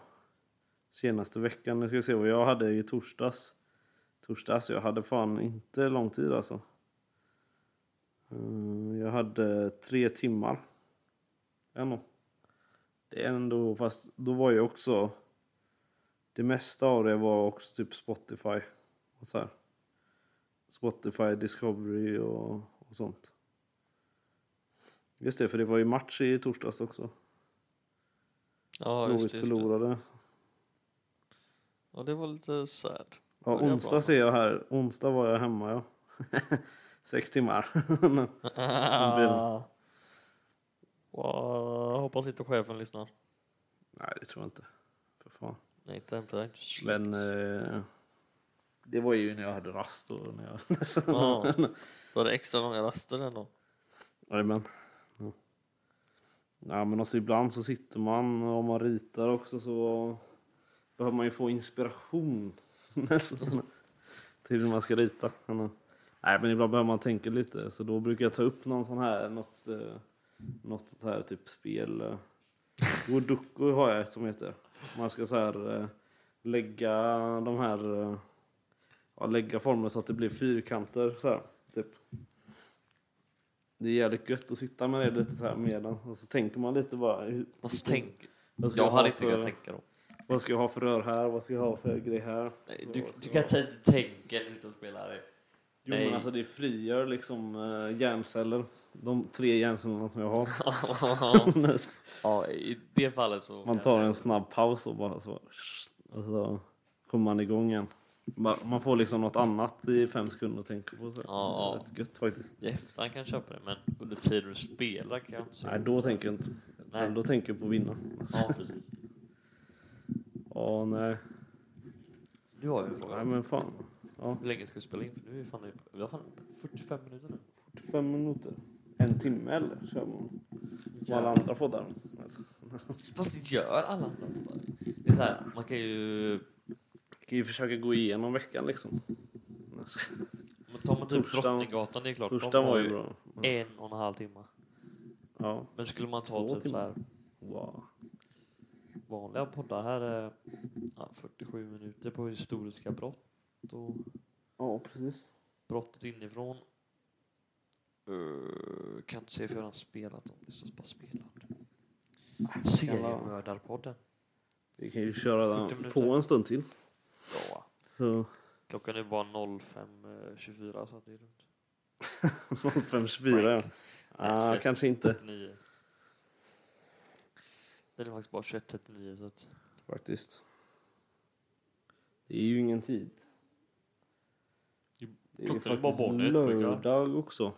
Speaker 2: Senaste veckan, nu ska jag se vad jag hade i torsdags. Torsdags, jag hade fan inte lång tid alltså. Mm, Jag hade tre timmar. Ändå. Det är ändå, fast då var jag också... Det mesta av det var också typ Spotify. Och så här. Spotify, Discovery och, och sånt. Just det, för det var ju match i torsdags också.
Speaker 1: Ja, just
Speaker 2: Blåvitt
Speaker 1: det. Just det.
Speaker 2: förlorade.
Speaker 1: Ja, det var lite (laughs) sad.
Speaker 2: Ja,
Speaker 1: Börja bra.
Speaker 2: onsdag ser jag här. Onsdag var jag hemma, ja. (laughs) Sex timmar. (laughs)
Speaker 1: wow, jag hoppas inte chefen lyssnar.
Speaker 2: Nej, det tror jag inte. För fan.
Speaker 1: Nej, inte hämta dig. inte.
Speaker 2: Men eh, det var ju när jag hade rast och när jag... (laughs)
Speaker 1: Ja, då var det extra långa raster ändå.
Speaker 2: Jajamän. Ja. ja, men alltså ibland så sitter man och om man ritar också så behöver man ju få inspiration (laughs) nästan till hur man ska rita. Men, eh, nej, men ibland behöver man tänka lite så då brukar jag ta upp någon sån här, något, eh, något sånt här typ spel. eh. Sudoku har jag ett som heter. Man ska så här eh, lägga de här, eh, ja, lägga former så att det blir fyrkanter så här, typ. Det är jävligt gött att sitta med det lite så här medan och så tänker man lite bara. hur-
Speaker 1: Fast tänk,
Speaker 2: vad ska
Speaker 1: jag hade
Speaker 2: ha
Speaker 1: inte
Speaker 2: för-
Speaker 1: kunnat tänka då.
Speaker 2: Vad ska jag ha för rör här? Vad ska jag ha för grej här?
Speaker 1: Nej, du, du kan inte säga att du tänker inte att spela det.
Speaker 2: Jo
Speaker 1: Nej.
Speaker 2: men alltså det frigör liksom eh, hjärnceller. De tre hjärncellerna som jag har.
Speaker 1: (laughs)
Speaker 2: (laughs)
Speaker 1: ja, i det fallet så...
Speaker 2: man tar en snabb paus och bara så. Och så kommer man igång igen. Bara- Man får liksom något annat i fem sekunder att tänka på. Så.
Speaker 1: Ja. Typ.
Speaker 2: Det är rätt gött faktiskt.
Speaker 1: I efterhand kan jag köpa det, men under tiden du spelar kan jag inte säga.
Speaker 2: Nej då tänker jag inte.
Speaker 1: Nej.
Speaker 2: Då tänker jag på att vinna.
Speaker 1: Ja, precis.
Speaker 2: Ja nej.
Speaker 1: Du har ju en
Speaker 2: Nej
Speaker 1: fråga.
Speaker 2: men fan. Ja.
Speaker 1: Hur länge ska vi spela in? För nu är vi fan i- vi har fan 45 minuter nu.
Speaker 2: Fem minuter. En timme eller? Kör man. Som alla andra poddar. Alltså.
Speaker 1: Fast det gör alla andra poddar. Det är så här, man kan ju...
Speaker 2: Kan ju försöka gå igenom veckan liksom. Alltså.
Speaker 1: Men tar man typ
Speaker 2: Torsdagen-
Speaker 1: Drottninggatan, det är klart.
Speaker 2: Torsdagen
Speaker 1: de har
Speaker 2: var ju
Speaker 1: ju
Speaker 2: bra.
Speaker 1: en och en halv timme.
Speaker 2: Ja.
Speaker 1: Men skulle man ta
Speaker 2: Två
Speaker 1: typ så
Speaker 2: timmar.
Speaker 1: här
Speaker 2: Wow.
Speaker 1: vanliga poddar här är ja, 47 minuter på historiska brott och
Speaker 2: Ja, precis.
Speaker 1: brottet inifrån. Eh, kan inte se för jag har spelat om det, så bara spelar.
Speaker 2: Ah,
Speaker 1: Seriemördarpodden.
Speaker 2: Vi kan ju köra
Speaker 1: 40
Speaker 2: den
Speaker 1: minuter.
Speaker 2: på en stund till.
Speaker 1: Ja.
Speaker 2: Så (laughs)
Speaker 1: Klockan är bara 05.24 så att det är lugnt.
Speaker 2: 05.24 ja. Ah,
Speaker 1: Nej,
Speaker 2: kanske inte
Speaker 1: 39. Den är faktiskt bara 21.39 så att...
Speaker 2: faktiskt. Det är ju ingen tid. Det är ju
Speaker 1: Klockan är bara
Speaker 2: faktiskt
Speaker 1: vanligt, pojkar.
Speaker 2: lördag också.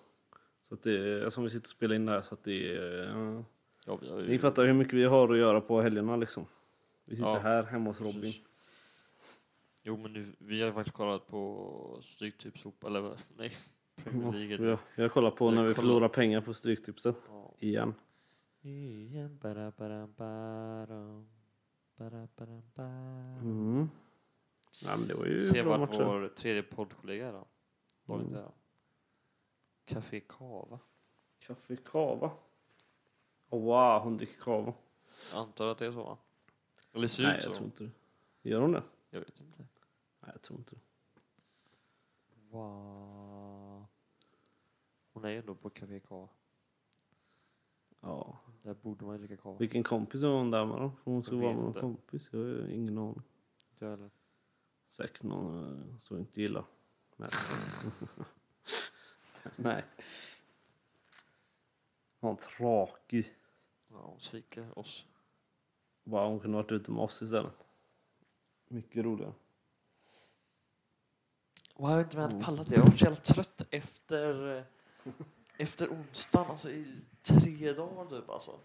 Speaker 2: Så att det är, som vi sitter och spelar in det här så att det är... ja.
Speaker 1: Ja, vi har ju-
Speaker 2: Ni fattar hur mycket vi har att göra på helgerna liksom. Vi sitter
Speaker 1: Ja,
Speaker 2: här hemma hos
Speaker 1: Precis.
Speaker 2: Robin.
Speaker 1: Jo men nu, vi har faktiskt kollat på Stryktipsfotboll, eller vad- nej, (laughs) Premier League. heter det.
Speaker 2: Vi har, vi har kollat på
Speaker 1: Jag
Speaker 2: när vi
Speaker 1: kollar.
Speaker 2: förlorar pengar på Stryktipset
Speaker 1: Ja.
Speaker 2: igen.
Speaker 1: Igen, bara, bara, bara, bara, bara, bara.
Speaker 2: Mm. Ja, men det var ju
Speaker 1: Se
Speaker 2: bra
Speaker 1: vart
Speaker 2: matcher.
Speaker 1: vår tredje poddkollega är då. Dagen
Speaker 2: Mm.
Speaker 1: där. Café Cava.
Speaker 2: Kaffe kava. Åh, wow, hon dricker kava.
Speaker 1: Jag antar att det är så va? Eller ser
Speaker 2: Nej,
Speaker 1: ut
Speaker 2: jag
Speaker 1: så.
Speaker 2: tror inte det. Gör hon det?
Speaker 1: Jag vet inte.
Speaker 2: Nej, jag tror inte det.
Speaker 1: Va... Hon är ju ändå på Café Cava.
Speaker 2: Ja.
Speaker 1: Där borde man ju dricka kava.
Speaker 2: Vilken kompis var hon där med då? Hon skulle
Speaker 1: Jag
Speaker 2: vara
Speaker 1: vet
Speaker 2: med någon
Speaker 1: inte.
Speaker 2: kompis. Jag har ingen aning.
Speaker 1: Inte jag heller.
Speaker 2: Säkert någon eh, som jag inte gillar. Nej. (laughs) Nej. Hon tråkig.
Speaker 1: Ja, hon sviker oss.
Speaker 2: Bara hon kunde varit ute med oss istället. Mycket roligare.
Speaker 1: Och jag har inte med
Speaker 2: Mm.
Speaker 1: pallat det. Jag har varit så jävla trött efter, eh, efter onsdagen, alltså i tre dagar typ alltså.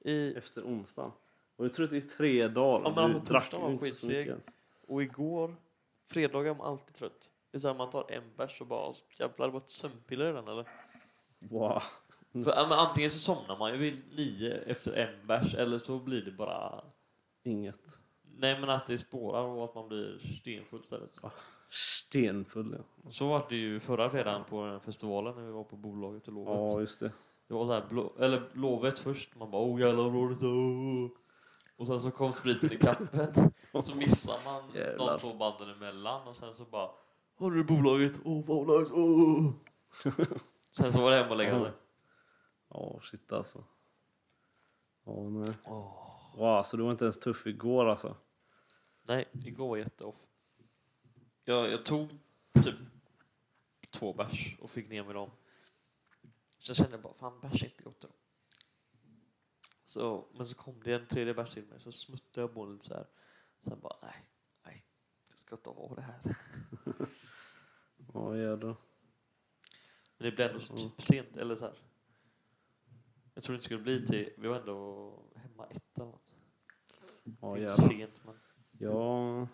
Speaker 1: I,
Speaker 2: Efter onsdagen. Och jag tror att det är tre dagar.
Speaker 1: Ja, men
Speaker 2: Du
Speaker 1: alltså,
Speaker 2: drack
Speaker 1: torsdagen
Speaker 2: ju
Speaker 1: var
Speaker 2: inte så
Speaker 1: skitseg.
Speaker 2: mycket ens.
Speaker 1: och igår, fredagar är man alltid trött. Det är så här, man tar en bärs och bara jävlar det var ett sömnpiller i den eller?
Speaker 2: Wow.
Speaker 1: För, ja, men antingen så somnar man ju vid nio efter en bärs eller så blir det bara
Speaker 2: Inget.
Speaker 1: Nej men att det spårar och att man blir stenfull istället.
Speaker 2: Stenfull ja.
Speaker 1: Så var det ju förra fredagen på den här festivalen när vi var på bolaget och lovet.
Speaker 2: Ja, just det.
Speaker 1: Det var så här, blå, eller lovet först, man bara oh jävlar vad roligt, oh. Och sen så kom spriten i kappen och så missar man
Speaker 2: Jävlar.
Speaker 1: de två banden emellan och sen så bara Har du bolaget? Oh vad nice, oh. Sen så var det hem och lägga sig.
Speaker 2: Ja, shit alltså. Ja, nej.
Speaker 1: Åh.
Speaker 2: Wow, så du var inte ens tuff igår alltså?
Speaker 1: Nej, igår var jätteoff. Jag, jag tog typ två bärs och fick ner mig dem. Sen kände jag bara, fan bärs är inte gott idag. Så, men så kom det en tredje bärs till mig, så smuttade jag på den lite så här. Sen bara, nej, nej, jag ska inte ha det här.
Speaker 2: Ja, jädrar.
Speaker 1: Men det blev ändå
Speaker 2: Mm.
Speaker 1: så typ sent, eller så här. Jag tror det inte skulle bli till, vi var ändå hemma ett eller något.
Speaker 2: Ja,
Speaker 1: Det är
Speaker 2: jädrar.
Speaker 1: sent, men
Speaker 2: Ja.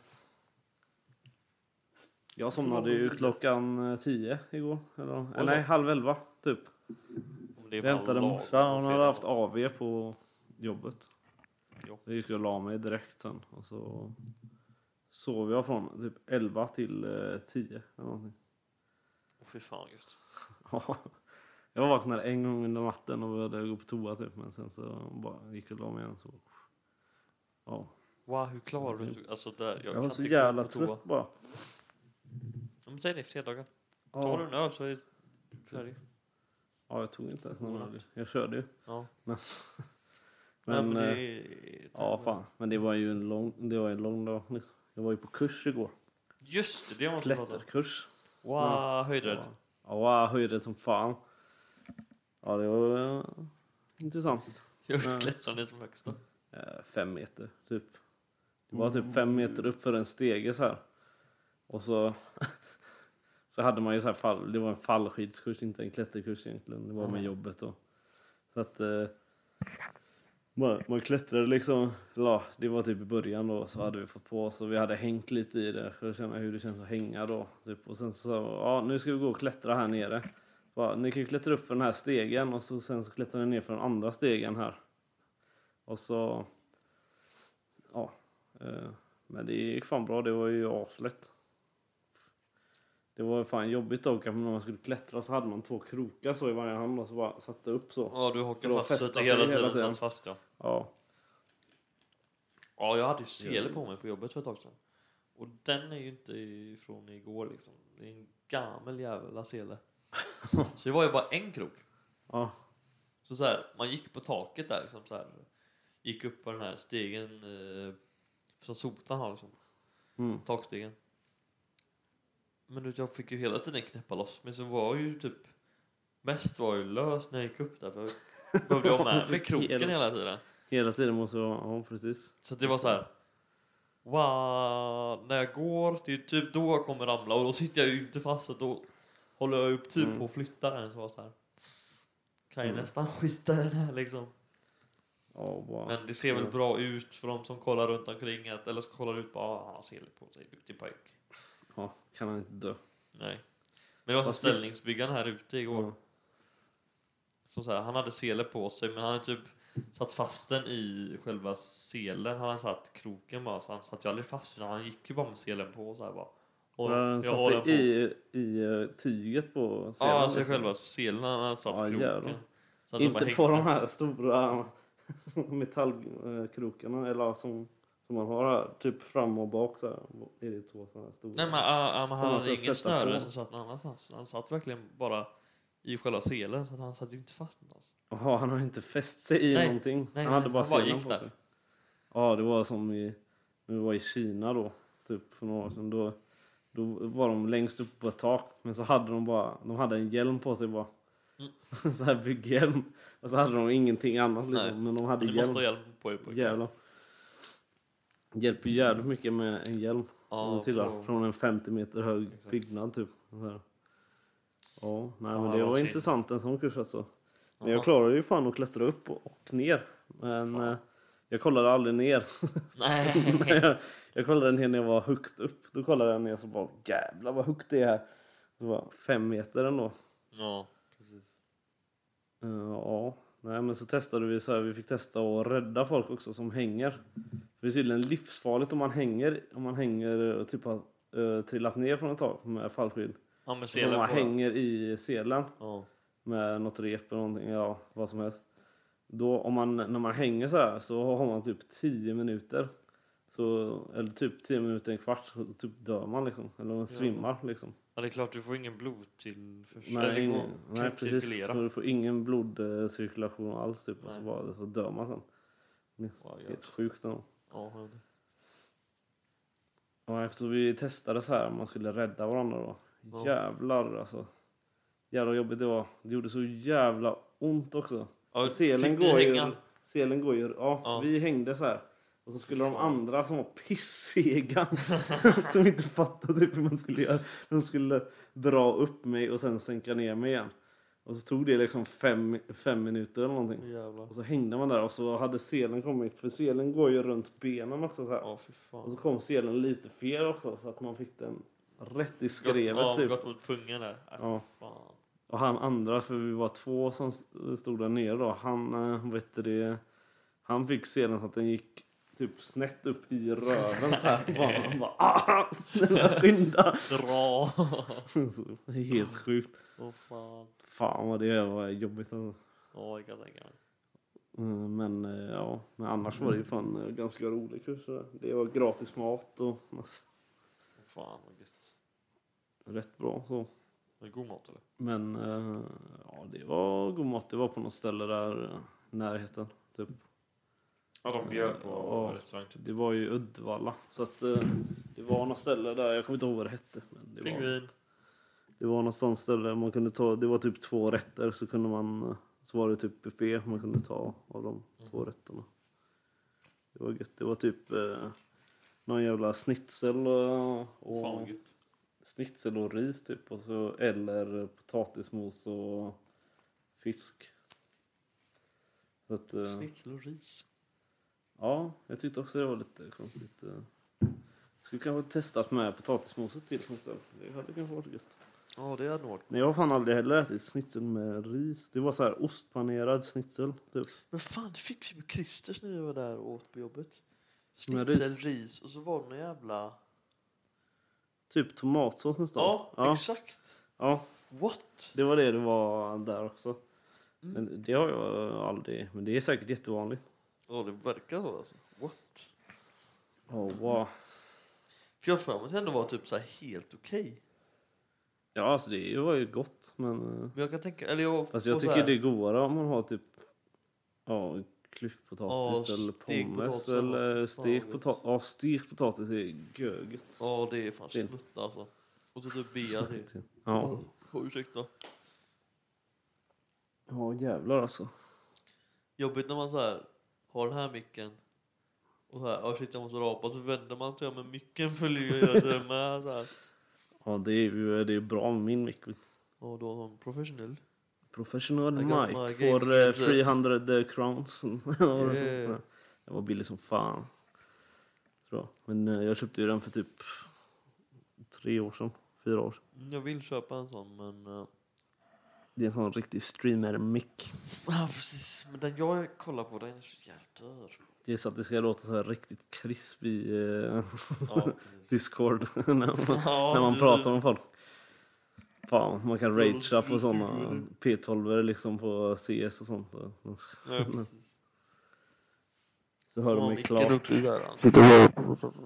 Speaker 2: Jag somnade ju klockan eh, tio igår. Eller,
Speaker 1: så.
Speaker 2: eh, nej, halv elva typ.
Speaker 1: om det är
Speaker 2: Jag
Speaker 1: fan
Speaker 2: hämtade
Speaker 1: lagom
Speaker 2: morsan,
Speaker 1: typ på
Speaker 2: hon
Speaker 1: fredag.
Speaker 2: hade haft AV på jobbet.
Speaker 1: Ja.
Speaker 2: Jag gick och la mig direkt sen och så sov jag från typ 11 till eh, 10 eller någonting. (laughs)
Speaker 1: Åh, Fy fan just.
Speaker 2: Ja. Jag vaknade en gång under natten och började gå på toa typ men sen så bara gick jag och la mig igen. Så. Ja.
Speaker 1: Wow, hur klarar du det? Alltså där, jag,
Speaker 2: Mm. Jag,
Speaker 1: kan
Speaker 2: var så
Speaker 1: inte gå
Speaker 2: jävla
Speaker 1: på toa.
Speaker 2: trött bara.
Speaker 1: Ja, men säg det, fredagar. Tar du
Speaker 2: Ja. Typ.
Speaker 1: en öl så är det färdig.
Speaker 2: ja, jag tog inte ens någon
Speaker 1: Godnatt.
Speaker 2: öl. Jag körde ju.
Speaker 1: Ja.
Speaker 2: Men,
Speaker 1: Nej, men
Speaker 2: eh,
Speaker 1: det...
Speaker 2: ja fan, men det var ju en lång, det var ju en lång dag. liksom. Jag var ju på kurs igår.
Speaker 1: Just det, det måste vi prata om.
Speaker 2: Klätterkurs.
Speaker 1: Wow,
Speaker 2: Ja.
Speaker 1: höjdrädd.
Speaker 2: Ja, wow, höjdrädd som fan. Ja, det var eh, intressant. Ja.
Speaker 1: Jag klättrade som högst då.
Speaker 2: Eh, fem meter, typ. Det var typ fem meter upp för en stege så här. Och så, (laughs) så hade man ju så här fall, det var en fallskidskurs, inte en klätterkurs egentligen. Det var med
Speaker 1: Mm.
Speaker 2: jobbet då. Så att eh, man, man klättrade liksom, eller ja, det var typ i början då, så hade vi fått på oss och vi hade hängt lite i det för att känna hur det känns att hänga då. Typ. Och sen så sa jag, ja nu ska vi gå och klättra här nere. Bara, ni kan ju klättra upp för den här stegen och så, sen så klättrar ni ner för den andra stegen här. Och så, ja. Eh, men det gick fan bra, det var ju aslätt. Det var fan jobbigt dock att när man skulle klättra så hade man två krokar så i varje hand och så bara satte upp så.
Speaker 1: Ja, du hakar
Speaker 2: Då
Speaker 1: fast så
Speaker 2: fästar
Speaker 1: att
Speaker 2: sig
Speaker 1: hela
Speaker 2: hela
Speaker 1: tiden
Speaker 2: tiden.
Speaker 1: satt fast ja.
Speaker 2: Ja.
Speaker 1: Ja, jag hade ju sele på mig på jobbet för ett tag sedan. Och den är ju inte från igår liksom. Det är en gammal jävla
Speaker 2: (laughs)
Speaker 1: sele. Så det var ju bara en krok.
Speaker 2: ja.
Speaker 1: Så, så här, man gick på taket där liksom så här. Gick upp på den här stegen eh, som sotan har liksom.
Speaker 2: Mm.
Speaker 1: Takstegen. Men du vet, jag fick ju hela tiden knäppa loss mig så var ju typ Mest var ju lös när jag gick upp där för jag behövde
Speaker 2: (laughs)
Speaker 1: jag ha med mig
Speaker 2: Fick
Speaker 1: kroken
Speaker 2: hela-
Speaker 1: hela tiden.
Speaker 2: Hela tiden måste jag, ja precis.
Speaker 1: Så det var så här. Wow, när jag går, det är typ då jag kommer ramla och då sitter jag ju inte fast så då håller jag upp typ
Speaker 2: Mm.
Speaker 1: på att flytta den så var så här. Kan ju
Speaker 2: Mm.
Speaker 1: nästan skita i den här liksom.
Speaker 2: Ja, bara.
Speaker 1: Men det ser väl
Speaker 2: Ja.
Speaker 1: bra ut för de som kollar runt omkring att, eller som kollar ut på, ah, han har sele på sig, duktig pojk.
Speaker 2: Ja, kan han inte dö.
Speaker 1: Nej. Men det var som
Speaker 2: Fast visst-
Speaker 1: ställningsbyggaren här ute igår.
Speaker 2: Ja.
Speaker 1: Som så här, han hade sele på sig men han hade typ satt fast den i själva selen. Han hade satt kroken bara så han satt ju aldrig fast utan han gick ju bara med selen på så här bara. Och
Speaker 2: Ja, han
Speaker 1: jag håller
Speaker 2: satte
Speaker 1: på.
Speaker 2: i, i eh, tyget på
Speaker 1: ja,
Speaker 2: scenen,
Speaker 1: alltså
Speaker 2: liksom.
Speaker 1: själva selen han hade satt
Speaker 2: Ja,
Speaker 1: kroken.
Speaker 2: jävlar.
Speaker 1: Så att de bara
Speaker 2: Inte
Speaker 1: hängde.
Speaker 2: på de här stora eh, (laughs) metallkrokarna eller ja, som, som man har här, typ fram och bak så här. Är det två sådana här stora?
Speaker 1: Nej men, ah, ah, men han
Speaker 2: Som man
Speaker 1: hade
Speaker 2: ska
Speaker 1: ingen
Speaker 2: sätta
Speaker 1: snöre
Speaker 2: på.
Speaker 1: som satt någon annanstans. Han satt verkligen bara i själva selen så att han satt ju inte fast någonstans.
Speaker 2: Jaha, han har inte fäst sig i
Speaker 1: Nej,
Speaker 2: någonting.
Speaker 1: nej,
Speaker 2: han hade
Speaker 1: nej,
Speaker 2: bara
Speaker 1: han bara
Speaker 2: selen
Speaker 1: gick
Speaker 2: på
Speaker 1: där.
Speaker 2: sig. Ja, det var som i, när vi var i Kina då, typ för några år sedan. Då, då var de längst upp på ett tak, men så hade de bara, de hade en hjälm på sig bara. (laughs) så här bygghjälm. Och så hade de ingenting annat liksom,
Speaker 1: Mm. Nej,
Speaker 2: men de hade
Speaker 1: Men ni måste
Speaker 2: hjälm.
Speaker 1: ha hjälm på er pojkar.
Speaker 2: Jävlar. Hjälper jävligt mycket med en hjälm.
Speaker 1: Ja,
Speaker 2: om du tittar,
Speaker 1: på-
Speaker 2: typ Från en 50 meter hög
Speaker 1: Exakt.
Speaker 2: byggnad typ. Så här. Ja, nej,
Speaker 1: Ja,
Speaker 2: men
Speaker 1: det
Speaker 2: det
Speaker 1: var
Speaker 2: var
Speaker 1: synd.
Speaker 2: intressant en sån kurs alltså. Men
Speaker 1: Ja.
Speaker 2: jag klarade ju fan att klättra upp och, och ner. Men
Speaker 1: Fan.
Speaker 2: eh, jag kollade
Speaker 1: (laughs)
Speaker 2: aldrig ner.
Speaker 1: (laughs)
Speaker 2: (laughs)
Speaker 1: Nej.
Speaker 2: jag, jag kollade ner när jag var högt upp. Då kollade jag ner så bara jävlar vad högt det är här. Det var fem meter ändå.
Speaker 1: ja, precis.
Speaker 2: Eh, Ja, nej men så testade vi så här, vi fick testa att rädda folk också som hänger. För det är tydligen livsfarligt om man hänger, om man hänger och typ har eh, trillat ner från ett tak med fallskydd.
Speaker 1: Ja men
Speaker 2: Om
Speaker 1: selen
Speaker 2: man
Speaker 1: på. den.
Speaker 2: hänger i selen
Speaker 1: Ja.
Speaker 2: med något rep eller någonting, ja vad som helst. Då om man, när man hänger så här så har man typ 10 minuter. Så, eller typ 10 minuter, en kvart, så typ dör man liksom. Eller man svimmar liksom.
Speaker 1: ja, det är klart du får ingen blod till först.
Speaker 2: Nej,
Speaker 1: Eller
Speaker 2: ingen,
Speaker 1: går- kan
Speaker 2: nej
Speaker 1: inte
Speaker 2: precis.
Speaker 1: cirkulera.
Speaker 2: Så du får ingen blodcirkulation alls typ. Och så,
Speaker 1: Nej.
Speaker 2: bara, så dör man sen.
Speaker 1: Ja, ja.
Speaker 2: Helt sjukt ändå.
Speaker 1: Ja, jag vet.
Speaker 2: Ja, eftersom vi testade så här, man skulle rädda varandra då.
Speaker 1: Ja.
Speaker 2: Jävlar alltså. Jävlar vad jobbigt det var. Det gjorde så jävla ont också.
Speaker 1: Ja,
Speaker 2: Selen
Speaker 1: fick ni
Speaker 2: går, ju,
Speaker 1: hänga?
Speaker 2: selen går ju... Ja,
Speaker 1: Ja.
Speaker 2: vi hängde så här. Och så skulle de andra som var
Speaker 1: (laughs)
Speaker 2: pissega, (laughs) som inte fattade typ hur man skulle göra, de skulle dra upp mig och sen sänka ner mig igen. Och så tog det liksom fem, fem minuter eller någonting.
Speaker 1: Jävlar.
Speaker 2: Och så hängde man där och så hade selen kommit, för selen går ju runt benen också så här.
Speaker 1: Ja, fy
Speaker 2: Och så
Speaker 1: fan.
Speaker 2: kom selen lite fel också så att man fick den rätt i skrevet
Speaker 1: ja,
Speaker 2: typ.
Speaker 1: Gått mot pungen där. Äh,
Speaker 2: Ja.
Speaker 1: Fan.
Speaker 2: Och han andra, för vi var två som st- stod där nere då, han, eh, vet du det, han fick selen så att den gick typ snett upp i röven så här. bara, han bara ah, snälla skynda!
Speaker 1: Dra! (laughs)
Speaker 2: Så, det är Helt sjukt.
Speaker 1: Åh fan.
Speaker 2: Fan vad det var jobbigt alltså.
Speaker 1: Ja, jag kan tänka mig.
Speaker 2: Mm, Men eh, ja, men annars var det ju fan eh, ganska rolig kurs. det där. Det var gratis mat och alltså,
Speaker 1: Åh, Fan vad gött.
Speaker 2: rätt bra så.
Speaker 1: Var det god mat eller?
Speaker 2: Men eh, ja, det var god mat. Det var på något ställe där eh, i närheten. Typ.
Speaker 1: Ja, de bjöd på
Speaker 2: Ja.
Speaker 1: restaurang typ.
Speaker 2: Det var ju Uddevalla. Så att, eh, det var något ställe där, jag kommer inte ihåg vad det hette. Men det var,
Speaker 1: Pingvin.
Speaker 2: Det var något sånt ställe man kunde ta, det var typ två rätter så kunde man, så var det typ buffé man kunde ta av de två
Speaker 1: Mm.
Speaker 2: rätterna. Det var gött, det var typ eh, någon jävla schnitzel
Speaker 1: Fan
Speaker 2: och, och
Speaker 1: vad gött.
Speaker 2: schnitzel och ris typ och så, eller potatismos och fisk. Så att, eh,
Speaker 1: Snitsel och ris.
Speaker 2: ja, jag tyckte också det var lite konstigt. eh. Skulle kanske testat med potatismoset till sånt där. Det hade kanske varit gött.
Speaker 1: Ja, det hade nog varit.
Speaker 2: Men jag har fan aldrig heller ätit schnitzel med ris. Det var så här ostpanerad schnitzel. Typ.
Speaker 1: Men fan, det fick ju Christers när jag var där och åt på jobbet.
Speaker 2: Med
Speaker 1: Snitsel, ris och så var det någon jävla...
Speaker 2: typ tomatsås nästan.
Speaker 1: Ja,
Speaker 2: ja,
Speaker 1: exakt.
Speaker 2: ja,
Speaker 1: What?
Speaker 2: det var det det var där också.
Speaker 1: Mm.
Speaker 2: Men det har jag aldrig. Men det är säkert jättevanligt.
Speaker 1: Ja, det verkar så alltså. What?
Speaker 2: Oh, wow.
Speaker 1: För jag har för mig att det ändå var typ så här helt okej.
Speaker 2: Ja, alltså det var ju gott. Men eh,
Speaker 1: Men jag kan tänka, eller jag...
Speaker 2: alltså, jag
Speaker 1: och så
Speaker 2: tycker
Speaker 1: här-
Speaker 2: det är godare om man har typ ja, klyftpotatis
Speaker 1: Ja,
Speaker 2: eller
Speaker 1: stekt
Speaker 2: pommes
Speaker 1: potatis eller något.
Speaker 2: eller
Speaker 1: Fan,
Speaker 2: stekt
Speaker 1: vad
Speaker 2: potatis. Ja, stekt potatis är göget.
Speaker 1: Ja, det är fan
Speaker 2: Det-
Speaker 1: smutt alltså. Och så typ bea till.
Speaker 2: Ja.
Speaker 1: Oh, ursäkta.
Speaker 2: ja, jävlar alltså.
Speaker 1: Jobbigt när man så här har den här micken och så här, ja shit jag måste rapa, så vänder man sig om, men micken följer ju hela tiden med så här.
Speaker 2: Ja, det är ju det är bra med min mick.
Speaker 1: Och då var han professionell.
Speaker 2: Professional
Speaker 1: I got
Speaker 2: Mike
Speaker 1: my
Speaker 2: för
Speaker 1: gaming
Speaker 2: eh,
Speaker 1: headset.
Speaker 2: 300 crowns. (laughs)
Speaker 1: Yeah.
Speaker 2: Det var billig som fan. Så. Men eh, jag köpte ju den för typ tre år sedan, fyra år sedan.
Speaker 1: Mm, Jag vill köpa en sån men... eh,
Speaker 2: Det är en sån riktig streamer-mick.
Speaker 1: Ja precis, men den jag kollar på den är så jävla dyr.
Speaker 2: Det är så att det ska låta så här riktigt krisp i eh, (laughs)
Speaker 1: Ja, precis.
Speaker 2: Discord (laughs) när man,
Speaker 1: Ja,
Speaker 2: när man
Speaker 1: precis.
Speaker 2: pratar med folk. Fan, man kan
Speaker 1: Ja, de
Speaker 2: ragea på
Speaker 1: skulle
Speaker 2: såna
Speaker 1: streama
Speaker 2: P12 liksom på CS och (laughs) sånt.
Speaker 1: Ja, precis.
Speaker 2: Så hör de mig
Speaker 1: micken
Speaker 2: klart.
Speaker 1: uppe där, alltså.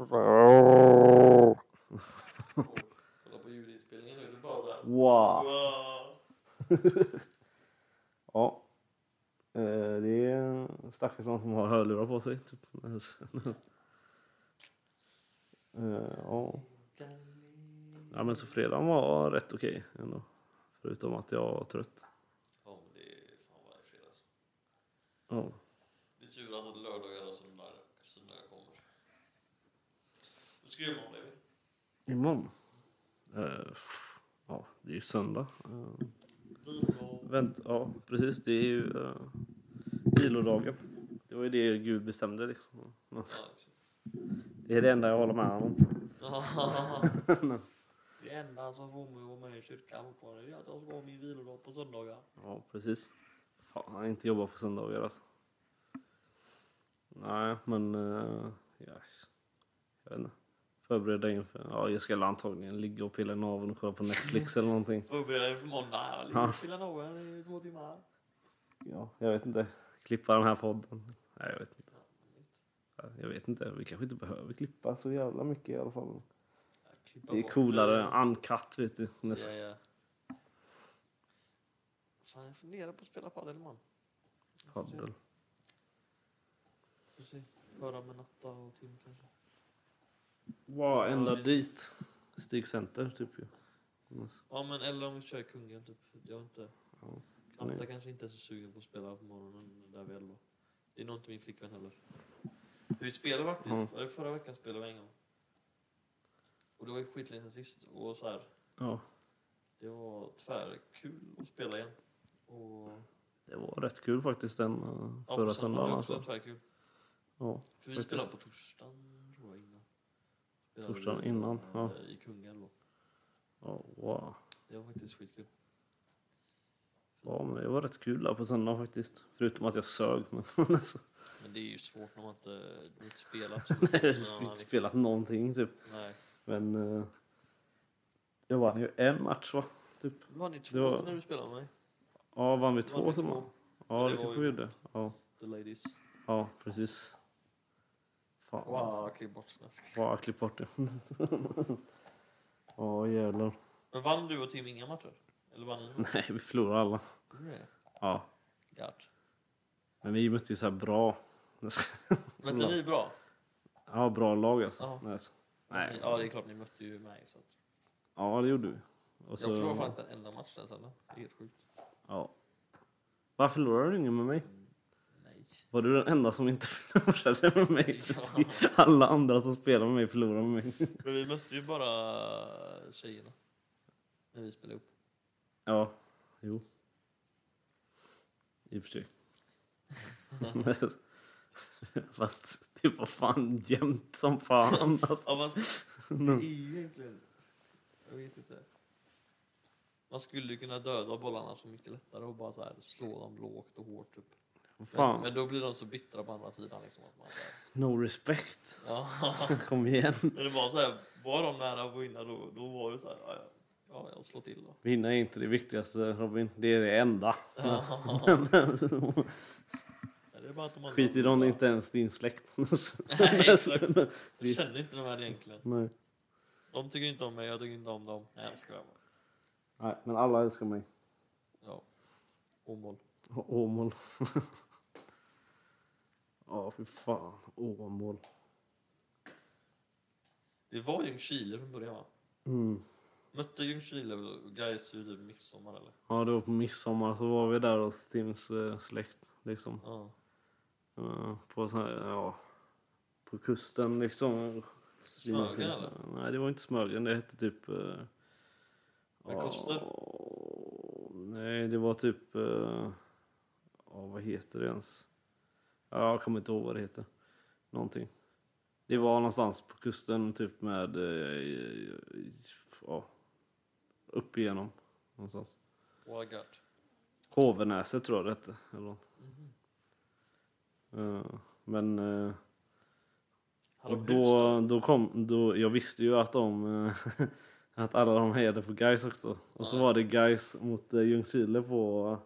Speaker 1: Kolla på ljudinspelningen nu, det är bara där.
Speaker 2: Wow!
Speaker 1: Wow.
Speaker 2: Ja. Eh, Det är stackars någon som har hörlurar på sig. Typ. (laughs) Eh, ja. ja, men så fredagen var rätt okej ändå. Förutom att jag var trött.
Speaker 1: Ja men det är fan varje fredag alltså.
Speaker 2: Ja.
Speaker 1: Det är tur alltså att lördagar och söndagar, söndagar kommer. Då ska jag imorgon David.
Speaker 2: Imorgon? Eh, ja, det är ju söndag. Eh,
Speaker 1: Vilodag.
Speaker 2: vänt, ja, precis. Det är ju uh, vilodagen. Det var ju det Gud bestämde liksom. Men
Speaker 1: Ja, exakt.
Speaker 2: Det är det enda jag håller med om.
Speaker 1: (laughs) Det enda som får mig att vara med i kyrkan fortfarande det är att jag ska ha min vilodag på söndagar.
Speaker 2: Ja, precis. Fan, han inte jobbar på söndagar alltså. Nej, men... eh, ja, jag vet inte. Förbereda inför... Ja, jag ska antagligen ligga och pilla i naveln och kolla på Netflix eller någonting.
Speaker 1: Förbereda dig för måndag. Jag ligger
Speaker 2: Ja.
Speaker 1: och spelar någon i två timmar.
Speaker 2: Ja, jag vet inte. Klippa den här podden. Nej, jag vet inte. Ja, Jag vet inte. Vi kanske inte behöver klippa så jävla mycket i alla fall.
Speaker 1: Ja, klippa
Speaker 2: Det är
Speaker 1: bort
Speaker 2: coolare än uncut, vet du.
Speaker 1: Ja,
Speaker 2: Nästan.
Speaker 1: ja. Fan, jag funderar på att spela padel man.
Speaker 2: Padel.
Speaker 1: Får se. Höra med Natta och Tim kanske.
Speaker 2: Wow, ända
Speaker 1: Ja,
Speaker 2: dit. Stig Center, typ ju. Annars-
Speaker 1: Ja men eller om vi kör kungen typ. Jag har inte.
Speaker 2: Ja,
Speaker 1: Anta
Speaker 2: nej.
Speaker 1: kanske inte är så sugen på att spela på morgonen där vi är då. Det är nog inte min flickvän heller. Vi spelade faktiskt, eller förra veckan spelade vi en gång. Och det var ju skitlänge sen sist och så här.
Speaker 2: Ja,
Speaker 1: Det var tvärkul att spela igen. Och
Speaker 2: det var rätt kul faktiskt den eh,
Speaker 1: ja, på söndagen var
Speaker 2: förra söndagen.
Speaker 1: det också
Speaker 2: Alltså.
Speaker 1: tvärkul.
Speaker 2: Ja,
Speaker 1: För vi
Speaker 2: Faktiskt.
Speaker 1: spelade på torsdagen tror jag innan. Spelade vi eh,
Speaker 2: Torsdagen innan, ja.
Speaker 1: I Kungälv då.
Speaker 2: ja, wow.
Speaker 1: Det var faktiskt skitkul.
Speaker 2: ja, men det var rätt kul där på söndagen faktiskt. Förutom att jag sög. Men (laughs) alltså,
Speaker 1: Men det är ju svårt när man inte, du inte spelat så
Speaker 2: jag
Speaker 1: mycket.
Speaker 2: har
Speaker 1: innan,
Speaker 2: inte
Speaker 1: liksom.
Speaker 2: spelat någonting typ.
Speaker 1: Nej.
Speaker 2: Men eh, jag vann ju en match va? Typ.
Speaker 1: Då var ni två
Speaker 2: Det var-
Speaker 1: när du spelade med mig.
Speaker 2: Ja, vann vi
Speaker 1: Då
Speaker 2: två
Speaker 1: var ni
Speaker 2: som vann? Ja,
Speaker 1: Det
Speaker 2: det
Speaker 1: var
Speaker 2: kanske vi
Speaker 1: ju-
Speaker 2: gjorde. Ja,
Speaker 1: The ladies.
Speaker 2: ja precis. Fan alltså.
Speaker 1: Wow, klipp bort snask.
Speaker 2: Wow, klipp bort det. (laughs) Ja, jävlar.
Speaker 1: Men vann du och Tim inga matcher? Eller vann ni?
Speaker 2: Nej, vi förlorade alla.
Speaker 1: Nej.
Speaker 2: Ja,
Speaker 1: Gart.
Speaker 2: (laughs) men vi mötte ju så här bra. (laughs)
Speaker 1: Mötte ni bra?
Speaker 2: Ja, bra lag alltså.
Speaker 1: Ja.
Speaker 2: Nej, alltså. Nej.
Speaker 1: Ja, det är klart ni mötte ju mig. Så att...
Speaker 2: Ja, det gjorde vi. Och
Speaker 1: Jag förlorar fan inte en enda match den sen. Det är helt sjukt.
Speaker 2: Ja. Varför förlorade du ingen med mig?
Speaker 1: Nej.
Speaker 2: Var du den enda som inte (laughs) förlorade med mig?
Speaker 1: (laughs) Ja.
Speaker 2: Alla andra som spelar med mig förlorar med mig.
Speaker 1: Men vi mötte ju bara eh, tjejerna. När vi spelade upp.
Speaker 2: Ja, jo. I
Speaker 1: (laughs)
Speaker 2: och för sig. Fast det var fan jämnt som fan. Alltså.
Speaker 1: Ja
Speaker 2: (laughs)
Speaker 1: fast det är ju egentligen... Jag vet inte. Man skulle ju kunna döda bollarna så mycket lättare och bara så här slå dem lågt och hårt typ. Men,
Speaker 2: Fan,
Speaker 1: men då blir de så bittra på andra sidan liksom. Att man så här,
Speaker 2: no respect.
Speaker 1: ja. (laughs)
Speaker 2: Kom igen.
Speaker 1: Men det var så här, var de nära att vinna då, då var det så här, ja, ja, ja jag slår till då. (laughs)
Speaker 2: Vinna är inte det viktigaste Robin, det är det enda.
Speaker 1: Ja. det är bara att de andra-
Speaker 2: (laughs) Skit i dem, det är inte ens din släkt. (laughs)
Speaker 1: Nej, exakt. Jag
Speaker 2: Det-
Speaker 1: känner inte de här egentligen.
Speaker 2: Nej.
Speaker 1: De tycker inte om mig, jag tycker inte om dem. Nej, jag skojar bara.
Speaker 2: Nej, men alla älskar mig.
Speaker 1: Ja. Åmål.
Speaker 2: Å- Åmål. (laughs) Ja, fy fan. Åmål.
Speaker 1: Det var Ljungskile från början va?
Speaker 2: Mm.
Speaker 1: Mötte Ljungskile och Gais vid typ midsommar eller?
Speaker 2: Ja, det var på midsommar så var vi där hos Tims eh, släkt. Liksom.
Speaker 1: Ja.
Speaker 2: Eh, På, så här, ja, på kusten liksom.
Speaker 1: Smögen, eller?
Speaker 2: Nej, det var inte Smögen. Det hette typ... eh,
Speaker 1: Vad kostar?
Speaker 2: ja, Nej, det var typ... eh, Ja, vad heter det ens? Ja, jag kommer inte ihåg vad det heter. Någonting. Det var någonstans på kusten typ med... eh, i- i- Ja, upp igenom någonstans.
Speaker 1: Wagard.
Speaker 2: Hovenäset tror jag det hette. Eller något.
Speaker 1: Mhm.
Speaker 2: Eh, Men... eh,
Speaker 1: Hallå,
Speaker 2: och
Speaker 1: hus.
Speaker 2: då, då kom, då, jag visste ju att de, eh, (laughs) att alla de hejade på Gais också. Och så
Speaker 1: Ja.
Speaker 2: var det Gais mot eh, Ljungskile på,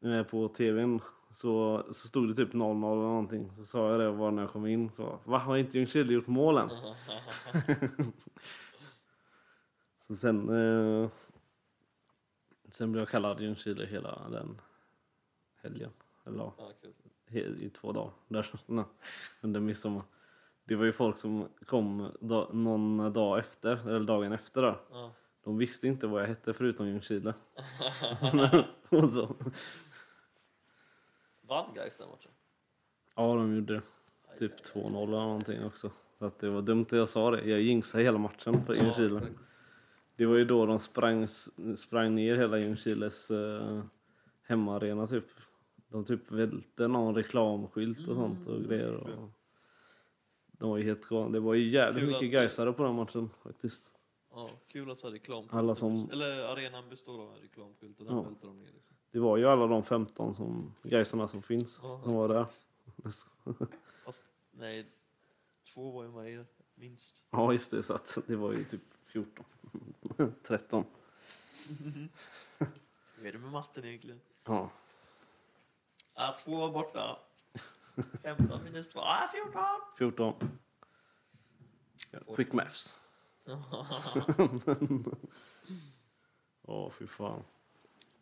Speaker 2: eh, på tvn. Så, så stod det typ 0-0 eller någonting. Så sa jag det bara när jag kom in. Så, Va, har inte Ljungskile
Speaker 1: (laughs)
Speaker 2: gjort målen? (laughs) så sen, eh, sen blev jag kallad Ljungskile hela den helgen. Eller ja,
Speaker 1: Ja, kul.
Speaker 2: he- i två dagar där, (laughs) na, under midsommar. Det var ju folk som kom da, någon dag efter, eller dagen efter där.
Speaker 1: Ja.
Speaker 2: De visste inte vad jag hette förutom Ljungskile. (laughs) och så.
Speaker 1: Vann Gais den matchen?
Speaker 2: Ja, de gjorde
Speaker 1: Aj,
Speaker 2: typ
Speaker 1: aj,
Speaker 2: 2-0 eller någonting också. Så att det var dumt att jag sa det. Jag jinxade hela matchen för
Speaker 1: aj. Ja,
Speaker 2: Ljungskile.
Speaker 1: exakt.
Speaker 2: det var ju då de sprang, sprang ner hela Ljungskiles eh, hemmaarena typ. De typ välte någon reklamskylt och sånt
Speaker 1: Mm.
Speaker 2: och grejer. Och, de var ju helt galna. Det var ju jävligt
Speaker 1: Kul
Speaker 2: mycket
Speaker 1: att-
Speaker 2: Gaisare på den matchen faktiskt.
Speaker 1: Ja, kul att så här reklam.
Speaker 2: Alla som-
Speaker 1: Eller arenan består av en reklamskylt och den
Speaker 2: Ja.
Speaker 1: välter de ner. Liksom.
Speaker 2: Det var ju alla de 15 som, Gaisarna som finns
Speaker 1: Ja,
Speaker 2: som var där.
Speaker 1: exakt. Fast nej, två var ju med er, minst.
Speaker 2: (laughs) Ja just det, så att det var ju typ (laughs) 14, 13.
Speaker 1: Hur är det med matten egentligen?
Speaker 2: Ja.
Speaker 1: Ah, två var
Speaker 2: (laughs)
Speaker 1: borta. 15 minus två, ah 14!
Speaker 2: 14. Quick maths. Åh fy fan.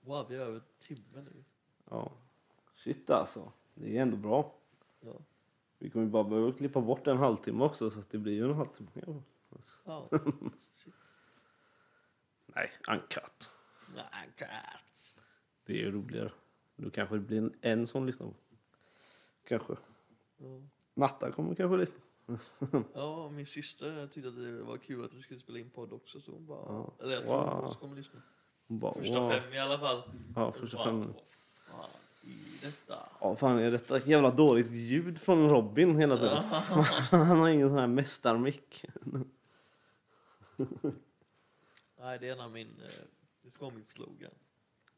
Speaker 1: wow, vi är över timmen nu.
Speaker 2: Ja. Shit alltså. Det är ändå bra.
Speaker 1: Ja.
Speaker 2: Vi kommer ju bara behöva klippa bort en halvtimme också så att det blir ju en halvtimme. Ja. Alltså.
Speaker 1: Ja. Shit.
Speaker 2: Nej, uncut.
Speaker 1: Nej, cats.
Speaker 2: Det är ju roligare. Då kanske det blir en, en som lyssnar. på. Kanske.
Speaker 1: Ja.
Speaker 2: Natta kommer kanske lyssna.
Speaker 1: Ja, min syster tyckte att det var kul att vi skulle spela in podd också så hon bara...
Speaker 2: Ja.
Speaker 1: Eller jag tror hon
Speaker 2: Wow.
Speaker 1: också kommer lyssna.
Speaker 2: Hon bara,
Speaker 1: Första
Speaker 2: wow.
Speaker 1: fem i alla fall.
Speaker 2: Ja, första fem.
Speaker 1: Vad fan i detta?
Speaker 2: Ja, fan är detta jävla dåligt ljud från Robin hela tiden. (laughs) Han har ingen sån här mästarmick.
Speaker 1: Nej, det är en av min... eh, Det ska vara min slogan.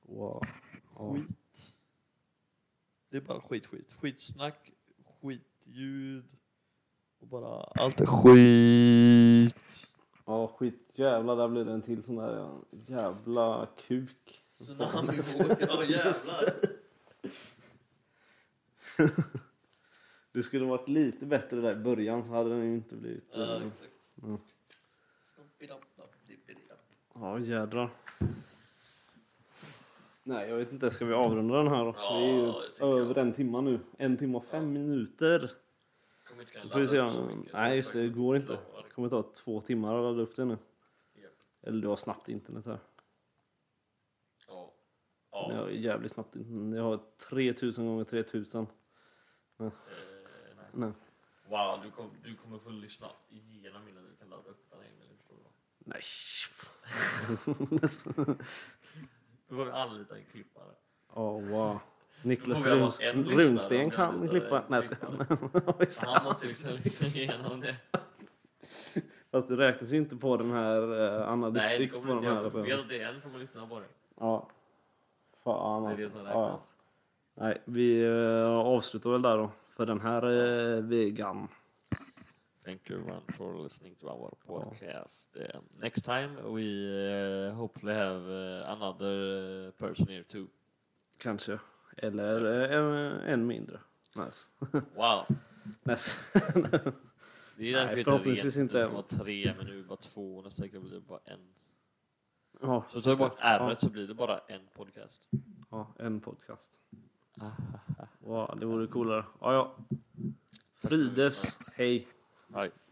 Speaker 2: Wow. Ja.
Speaker 1: Skit. Det är bara skit, skit. Skitsnack, skitljud och bara allt är skit.
Speaker 2: Ja, skit jävla där blir det en till sån där ja. jävla kuk.
Speaker 1: (laughs) Tsunamivåg, ja jävlar.
Speaker 2: Det skulle varit lite bättre där i början så hade den ju inte blivit...
Speaker 1: Ja,
Speaker 2: eh,
Speaker 1: exakt.
Speaker 2: Mm.
Speaker 1: Snoppidamp-dapp-dippidamp.
Speaker 2: Ja, jädrar. Nej, jag vet inte. Ska vi avrunda den här då?
Speaker 1: Ja,
Speaker 2: det är ju
Speaker 1: det tycker jag.
Speaker 2: över en timma nu. En timme och fem minuter.
Speaker 1: Kommer inte
Speaker 2: Så
Speaker 1: kunna
Speaker 2: får vi se.
Speaker 1: ladda upp
Speaker 2: om-
Speaker 1: mycket, så
Speaker 2: Nej,
Speaker 1: jag
Speaker 2: just det. Det
Speaker 1: faktiskt
Speaker 2: går inte.
Speaker 1: klarar
Speaker 2: Det kommer ta två timmar att ladda upp det nu.
Speaker 1: Japp.
Speaker 2: Eller du har snabbt internet här.
Speaker 4: Ja.
Speaker 2: Jag
Speaker 4: Ja.
Speaker 2: har jävligt snabbt internet. Mm, Jag har 3000 gånger 3000.
Speaker 4: Eh, nej.
Speaker 2: Nej.
Speaker 4: Wow, du, kom, du kommer få lyssna igenom innan du kan ladda upp den här mailen, förstår du? va?
Speaker 1: (laughs)
Speaker 2: Nej. (laughs) Alltså.
Speaker 4: Du får anlita en klippare.
Speaker 2: oh, wow. Niklas
Speaker 4: Då får vi ha
Speaker 2: Runs-
Speaker 4: en lyssnare om
Speaker 2: Runsten
Speaker 4: jag
Speaker 2: kan
Speaker 4: litar
Speaker 2: klippa.
Speaker 4: en
Speaker 2: Nej, ska (laughs) Just det.
Speaker 4: Han måste liksom lyssna igenom det.
Speaker 2: Fast det räknas ju inte på den här eh,
Speaker 4: Nej, det
Speaker 2: Analytics på
Speaker 4: kommer
Speaker 2: de
Speaker 4: inte
Speaker 2: här.
Speaker 4: jag. Vet att det är en som har lyssnat på det.
Speaker 2: Ja. Fan
Speaker 4: Det är
Speaker 2: alltså.
Speaker 4: det som
Speaker 2: ja.
Speaker 4: räknas.
Speaker 2: Nej, vi eh, avslutar väl där då. För den här eh, vegan.
Speaker 4: Thank you everyone for listening to our podcast. Uh, next time we uh, hopefully have uh, another person here too.
Speaker 2: Kanske. Eller eh, en- en mindre. Nice.
Speaker 4: Wow,
Speaker 2: nice.
Speaker 4: det är
Speaker 2: Nej,
Speaker 4: därför vi inte
Speaker 2: förhoppningsvis
Speaker 4: vet.
Speaker 2: inte.
Speaker 4: Det ska vara tre, men nu är det bara två. Nästa vecka blir det bara en.
Speaker 2: (laughs) ja,
Speaker 4: Så tar vi bort r
Speaker 2: Ja,
Speaker 4: så blir det bara en podcast.
Speaker 2: ja, en podcast.
Speaker 4: Ah,
Speaker 2: Wow, det vore coolare. Ja, ja.
Speaker 4: för
Speaker 2: Frides.
Speaker 4: lyssnandet.
Speaker 2: Hej.
Speaker 4: Hej.